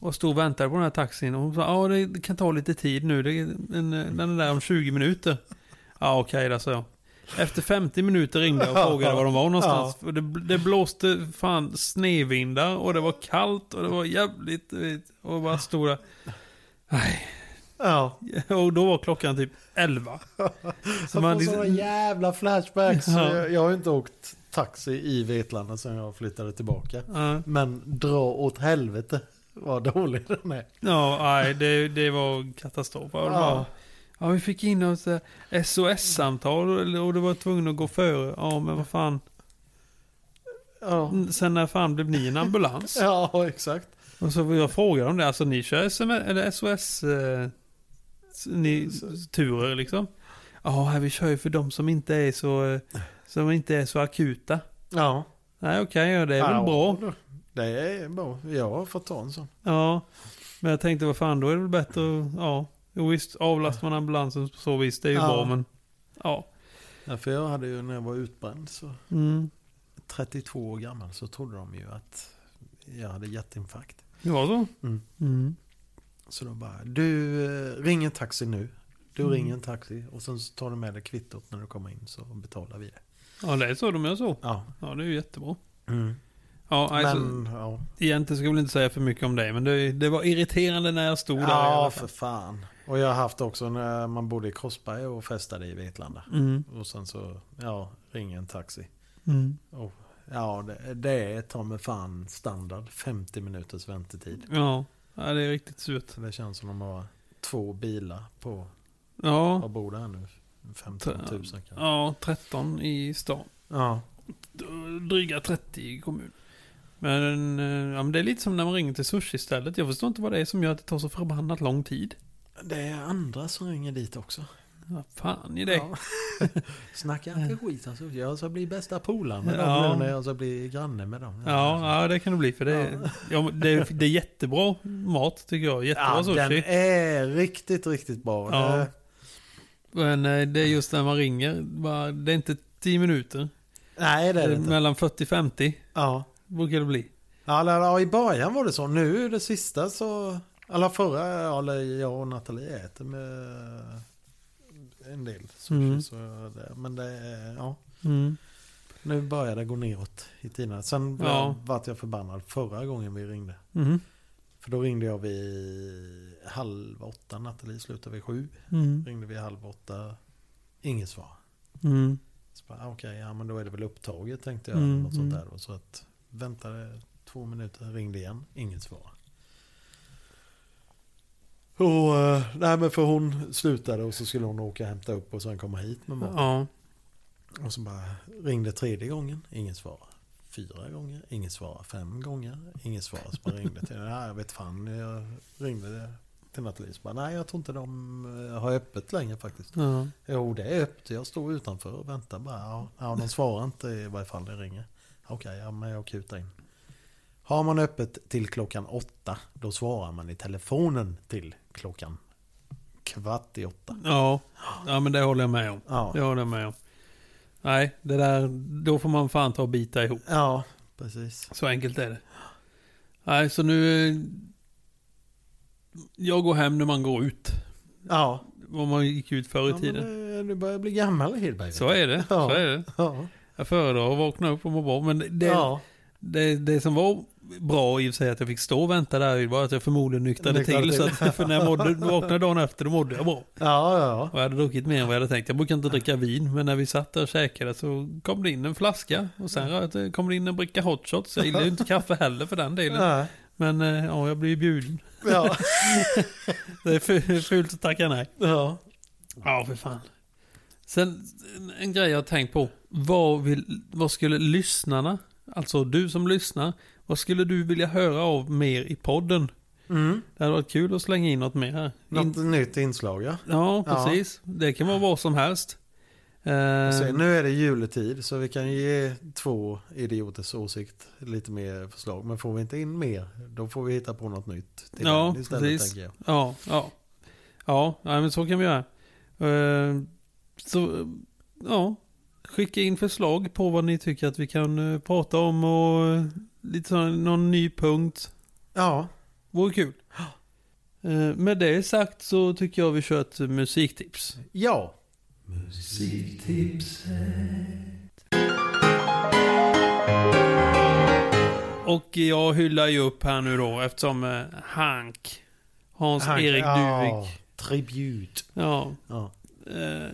Och stod och väntade på den här taxin. Och hon sa, ja det kan ta lite tid nu. Det är en, den är där om 20 minuter. Ja, okej då, sa jag. Efter 50 minuter ringde jag och frågade var de var någonstans. Och det, det blåste fan snedvindar och det var kallt och det var jävligt... du vet. Och bara stod där. Ja, Och då var klockan typ 11. Så jag man får liksom- sådana jävla flashbacks. Ja. Jag, jag har ju inte åkt taxi i Vetlanda sedan jag flyttade tillbaka. Ja. Men dra åt helvete vad dålig den är. Ja, nej, det, det var katastrof. Ja. Det var, Ja. ja, vi fick in oss eh, SOS-samtal och och det var tvungen att gå före. Ja, men vad fan. Ja, Mm, Sen när fan blev ni en ambulans? ja exakt. Och så vill jag fråga dem det. Alltså ni kör SMS, eller SOS eh, s- ni, s- turer liksom? Ja, här, vi kör ju för de som inte är så, eh, som inte är så akuta. Ja. Nej, okej, ja, det är väl ja, bra. Det är bra. Jag har fått ta en sån. Ja, men jag tänkte vad fan, då är det väl bättre att- ja. Jo, visst, avlastar man ambulansen på så vis, det är ju Ja. bra, men ja. Ja, för jag hade ju när jag var utbränd så Mm. 32 år gammal så trodde de ju att jag hade hjärtinfarkt. Det var så? Mm. Mm. Så de bara, du eh, ring en taxi nu. Du Mm. ringer en taxi och sen så tar du med dig kvittot när du kommer in så betalar vi det. Ja, det är så de gör så. Ja. Ja, det är ju jättebra. Ja, alltså, Mm. Men, ja. egentligen ska jag väl inte säga för mycket om dig, men det, det var irriterande när jag stod där. i Ja, alla för fall. fan. Och jag har haft också när man bodde i Korsberg och festade i Vetlanda. Mm. Och sen så, ja, ringer en taxi. Mm. Och, ja, det, det är ta mig fan standard 50 minuters väntetid. Ja. ja, det är riktigt surt. Så det känns som de har två bilar på, Ja, vad bor det här nu? 15 000 kanske. ja 13 i stan. Ja. Dryga 30 i kommun. Men, eh, ja, men det är lite som när man ringer till sushi-stället. Jag förstår inte vad det är som gör att det tar så förbannat lång tid. Det är andra som ringer dit också. Vad fan är det? Ja. Snacka inte skit alltså. Jag ska bli bästa polare med Eh. Ja. dem nu när jag ska bli granne med dem. Ja, ja, det kan det bli. För det, är- ja. men det, är- det är jättebra mat tycker jag. Jättebra Ja, den sushi. är riktigt, riktigt bra. Ja. Det- Men eh, det är just när man ringer. bara- Det är inte 10 minuter. Nej, det är det inte. Mellan 40-50 Ja. brukar det bli. Ja, eller, ja, i början var det så. Nu det sista så... Eller förra, ja, eller jag och Nathalie äter med en del sushi. Mm. Så det, men det är, ja. Mm. Nu börjar det gå neråt i tiderna. Sen Ja. vart jag förbannad förra gången vi ringde. Mhm. För då ringde jag vid halv åtta, Nathalie slutade vid sju. Mm. Ringde vi halv åtta, inget svar. Mm. Så bara, ah, Okej, ja men då är det väl upptaget tänkte jag. Mm, eller något sånt mm. där. Och så att, väntade två minuter, ringde igen, inget svar. Och, eh, nej men för hon slutade och så skulle hon åka och hämta upp och sen komma hit med mat. Ja. Och så bara ringde tredje gången, inget svar. Fyra gånger, inget svar. Fem gånger, inget svar. Så bara ringde till nej jag vet fan. Jag ringde till Nathalie. Så bara, nej jag tror inte de eh, har öppet längre faktiskt. ja. Jo, det är öppet. Jag står utanför och väntar bara. Ja, ja, de svarar inte i varje fall. Det ringer. Okej, ja, men jag kutar in. Har man öppet till klockan åtta, då svarar man i telefonen till klockan kvart i åtta. Ja. ja, men det håller jag med om. Ja, Det håller jag med om. Nej, det där, då får man fan ta och bita ihop. ja precis. Så enkelt är det. Nej, så nu... eh, Jag går hem när man går ut. Ja, Vad man gick ut förr i ja tiden. men, du börjar bli gammal Hedberg. Så är det. Ja. Så är det. Ja, Jag föredrar att vakna upp och må bra. Men det, ja. det, det som var bra i och för sig att jag fick stå och vänta där var att jag förmodligen nyktrade, Nyktrade till. till. Så att, för när jag mådde, vaknade dagen efter då mådde jag bra. ja, ja. Och jag hade druckit mer än vad jag hade tänkt. Jag brukar inte dricka vin, men när vi satt där och käkade så kom det in en flaska. Och sen rö- kom det in en bricka hot shots. Jag gillar ju inte kaffe heller för den delen. Nej, Men eh, ja, jag blir bjuden. ja. Det är fu- fult att tacka nej. ja. Ja, för fan. Sen en- en grej jag har tänkt på. Vad, vill, vad skulle lyssnarna, alltså du som lyssnar, vad skulle du vilja höra av mer i podden? Mm. Det hade varit kul att slänga in något mer här. Något In, nytt inslag, ja. ja, Ja. precis. Det kan vara vad som helst. Se, Eh, nu är det juletid så vi kan ju ge två idioters åsikt lite mer förslag. Men får vi inte in mer då får vi hitta på något nytt. till Ja, den precis. tänker jag. ja, ja. Ja, nej, men så kan vi göra. Eh, så, ja. Skicka in förslag på vad ni tycker att vi kan eh, prata om och eh, lite sån, någon ny punkt. Ja, Vore kul. Eh, Med det sagt så tycker jag vi kör ett musiktips. ja. Och jag hyllar ju upp här nu då eftersom eh, Hank, Hans-Erik ja. Duvik, Tribut. ja, Ja. eh,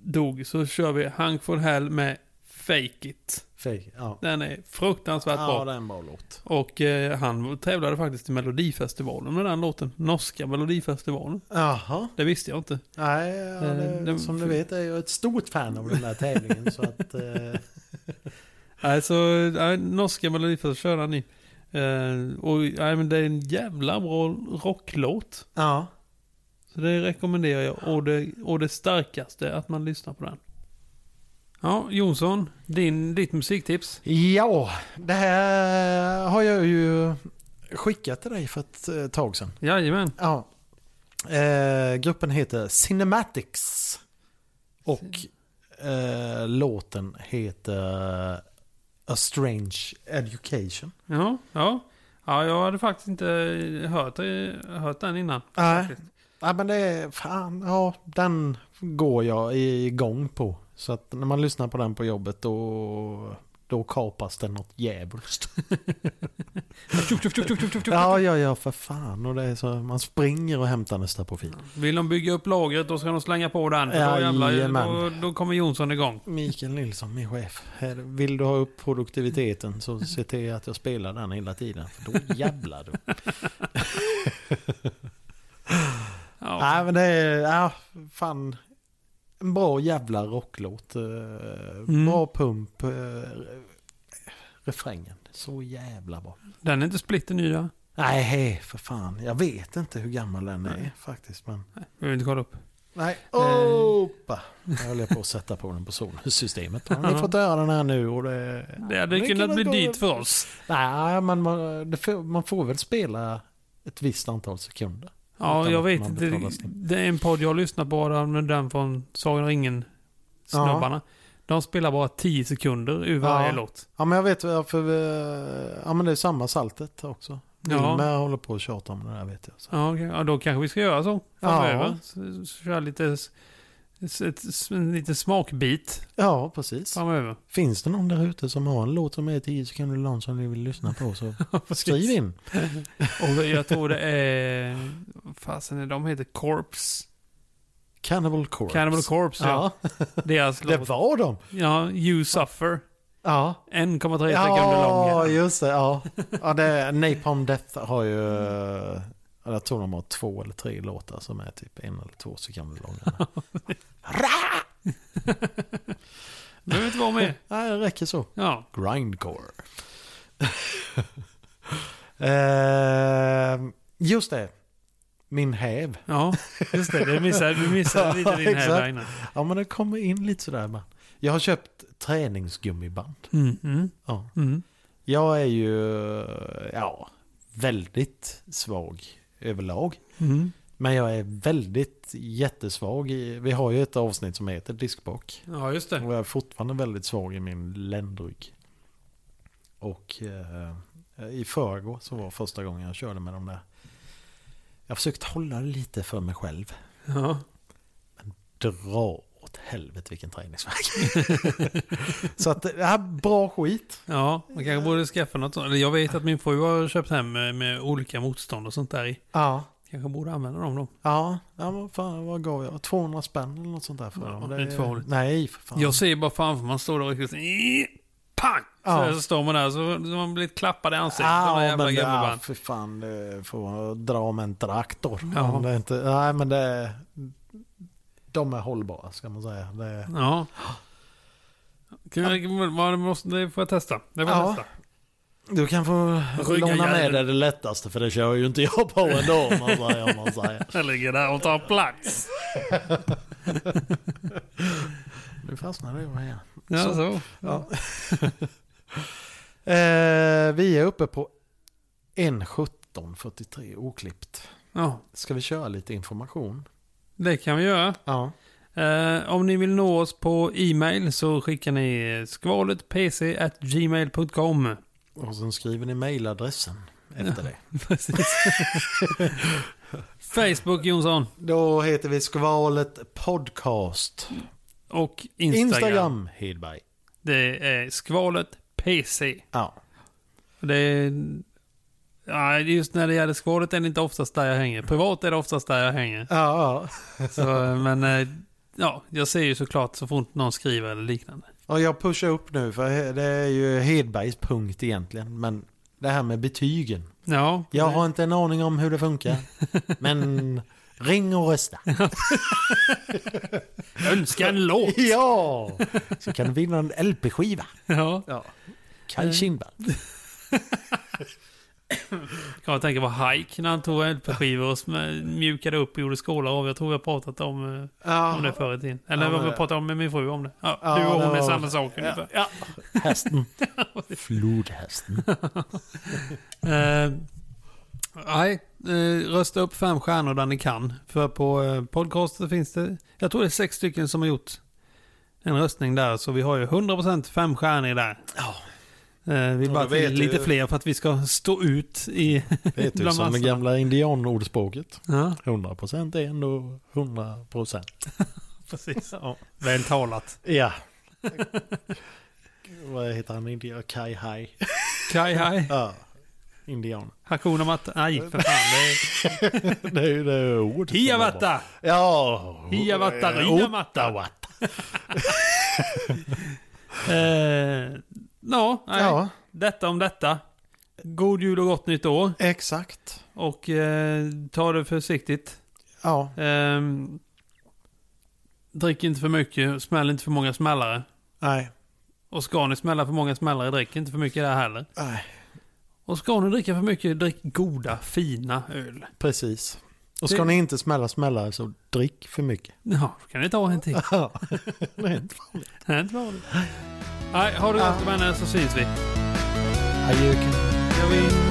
dog. Så kör vi Hank von Hell med Fake It. Fake. Ja. Den är fruktansvärt ja, bra. det är en bra låt. Och eh, han tävlade faktiskt i Melodifestivalen med den låten. Norska Melodifestivalen. Jaha. Det visste jag inte. Nej, ja, Eh, det, den- som du vet är jag ett stort fan av den här tävlingen. så att, eh, Nej, så nej, norska melodifestivalen kör han i. Eh, och nej, men det är en jävla bra rocklåt. ja. Så det rekommenderar jag. Och det, och det starkaste att man lyssnar på den. Ja, Jonsson. Din, ditt musiktips. ja, det här har jag ju skickat till dig för ett eh, tag sedan. Jajamän. Ja. Eh, gruppen heter Cinematics. Och eh, låten heter A Strange Education. Ja, ja. Ja, jag hade faktiskt inte hört, hört den innan. Nej, ja, men det är fan, ja, den går jag igång på. Så att när man lyssnar på den på jobbet då, då kapas det något djävulskt. Tjup, tjup, tjup, tjup, tjup, tjup, tjup. Ja, ja, ja, för fan. Och det är så, man springer och hämtar nästa profil. Vill de bygga upp lagret då ska de slänga på den. För då, jävlar, Jajamän. då, då kommer Jonsson igång. Mikael Nilsson, min chef. Här, vill du ha upp produktiviteten så se till att jag spelar den hela tiden. För då jävlar du. Ja. Nej men det är, ja, fan. En bra jävla rocklåt. eh, Mm. Bra pump. eh, Refrängen. Så jävla bra. Den är inte splitter ny, ja. Nej, hej, för fan. Jag vet inte hur gammal den är faktiskt. Men... Behöver inte kolla upp. Nej. Eh. Opa! Jag höll på att sätta på den på solsystemet. Men Vi får döda den här nu och det... Det hade Det kunnat kan bli gå- dyrt för oss. Nej, men man, det får, man får väl spela ett visst antal sekunder. Ja, Utan jag att vet man inte. betalar Det- sin- Det är en podd jag lyssnar på, där med den från Sagan om ringen-snubbarna. De spelar bara 10 sekunder ur varje Ja. låt. Ja, men jag vet varför. vi- Ja, men det är samma saltet också. Ja. Wilmer håller på att tjata om det där vet jag. Så. Ja, okej. ja, då kanske vi ska göra så framöver. Ja. Så- så Köra lite s- Ett, ett, en liten smakbit Ja, precis. framöver. Finns det någon där ute som har en låt som är 10 sekunder lång som ni vill lyssna på så skriv in. Och jag tror det är... vad Fasen är de heter? Corpse. Cannibal Corpse. Cannibal Corpse, ja. Ja, Deras det låt. var de. Ja, You Suffer. Ja. 1,3 sekunder Ja, lång. just det. Ja. Ja, det Napalm Death har ju... eh, Jag tror de har två eller tre låtar som är typ en eller två sekunder långa. Behöver inte vara med. Nej, det räcker så. Ja. Grindcore. Eh, just det. Min häv. Ja, just det. Du missade, du missade lite din Exakt. här innan. Ja, men det kommer in lite sådär. Man. Jag har köpt träningsgummiband. Mm, mm, Ja. mm. Jag är ju ja, väldigt svag överlag. Mm. Men jag är väldigt jättesvag. i- Vi har ju ett avsnitt som heter diskbak. Ja, just Och det. jag är fortfarande väldigt svag i min ländrygg. Och eh, i förrgår så var första gången jag körde med de där. Jag har försökt hålla det lite för mig själv. Ja. Dra åt helvete vilken träningsvärk. så att det här bra skit. Ja, man kanske borde skaffa något sånt. Eller Jag vet att min fru har köpt hem med, med olika motstånd och sånt där i. Ja. Kanske borde använda dem då. Ja, ja men fan, vad gav jag? 200 spänn eller något sånt där för Ja, dem. det är inte för roligt. nej, för fan. Jag ser bara framför mig, man står där och riktigt så- "Ih, pang! Ja. Så, så står man där så så man blir klappad i ansiktet av Ja, den ja jävla Ah, men ja, gummiband. för fan. Det får dra med en traktor. Ja. Men det är inte, nej, men det... De är hållbara, ska man säga. Det, Ja. Kan jag, vad- det måste, det får jag testa. Det får jag Ja. testa. du kan få Rygga låna med järn. dig det lättaste, för det kör ju inte jag på ändå, om man säger. Om man säger. Jag ligger där och tar plats. Nu fastnade jag här. Ja, så. Ja. eh, vi är uppe på 1.17.43 oklippt. Ja, Ska vi köra lite information? det kan vi göra. Ja. Eh, om ni vill nå oss på e-mail så skickar ni skvaletpc.gmail.com. Och sen skriver ni mejladressen efter det. Precis. Facebook Jonsson. Då heter vi Skvalet Podcast. Och Instagram, Instagram. Hedberg. Det är skvalet PC. Ja. Det är... Ja, just när det gäller skvalet är det inte oftast där jag hänger. Privat är det oftast där jag hänger. Ja, ja. Så, eh, men eh, ja, jag ser ju såklart så fort någon skriver eller liknande. Och jag pushar upp nu för det är ju Hedbergs punkt egentligen. Men det här med betygen. Ja, Jag har inte en aning om hur det funkar. Men ring och rösta. önska en låt. Ja! Så kan du vinna en LP-skiva. Ja. Ja. Kaj Kindberg. Kan jag tänka på Hike när han tog LP-skivor och sm- mjukade upp och gjorde skålar av. Jag tror vi har pratat om, eh, om det förr i tiden. Eller Ja, vad men- vi pratade om med min fru om det. Ja, Ja, du och det hon är var- samma sak ungefär. Hästen. Flodhästen. Eh, Nej, eh, rösta upp fem stjärnor där ni kan. För på eh, podcaster finns det, jag tror det är sex stycken som har gjort en röstning där. Så vi har ju 100% fem stjärnor där. Ja. Eh, vi Ja, bara du vet till lite ju- fler för att vi ska stå ut i... Vet du Bland som det massorna. gamla indianordspråket? ja, 100% är ändå 100%. precis. Väl talat. Ja. Vad heter han? Indian? Kai Hai. Kai hej. Ja. Indian. Hakuna Matta. Nej, för fan. Det är... Det är ju det ordet. Hiavatta! Ja. Hiavatta, Rinamatta. Ottawatta. Eh, ja, nej. Ja, detta om detta. God jul och gott nytt år. exakt. Och eh, ta det försiktigt. Ja. Ehm, drick inte för mycket, smäll inte för många smällare. Nej. Och ska ni smälla för många smällare, drick inte för mycket där heller. Nej. Och ska ni dricka för mycket, drick goda, fina öl. Precis. Och ska Det- ni inte smälla smällare så drick för mycket. Ja, då kan ni ta en till. Ja. Det är inte farligt. Det är inte farligt. Nej, ha det gott vänner så syns vi. Adjö. Jag vill...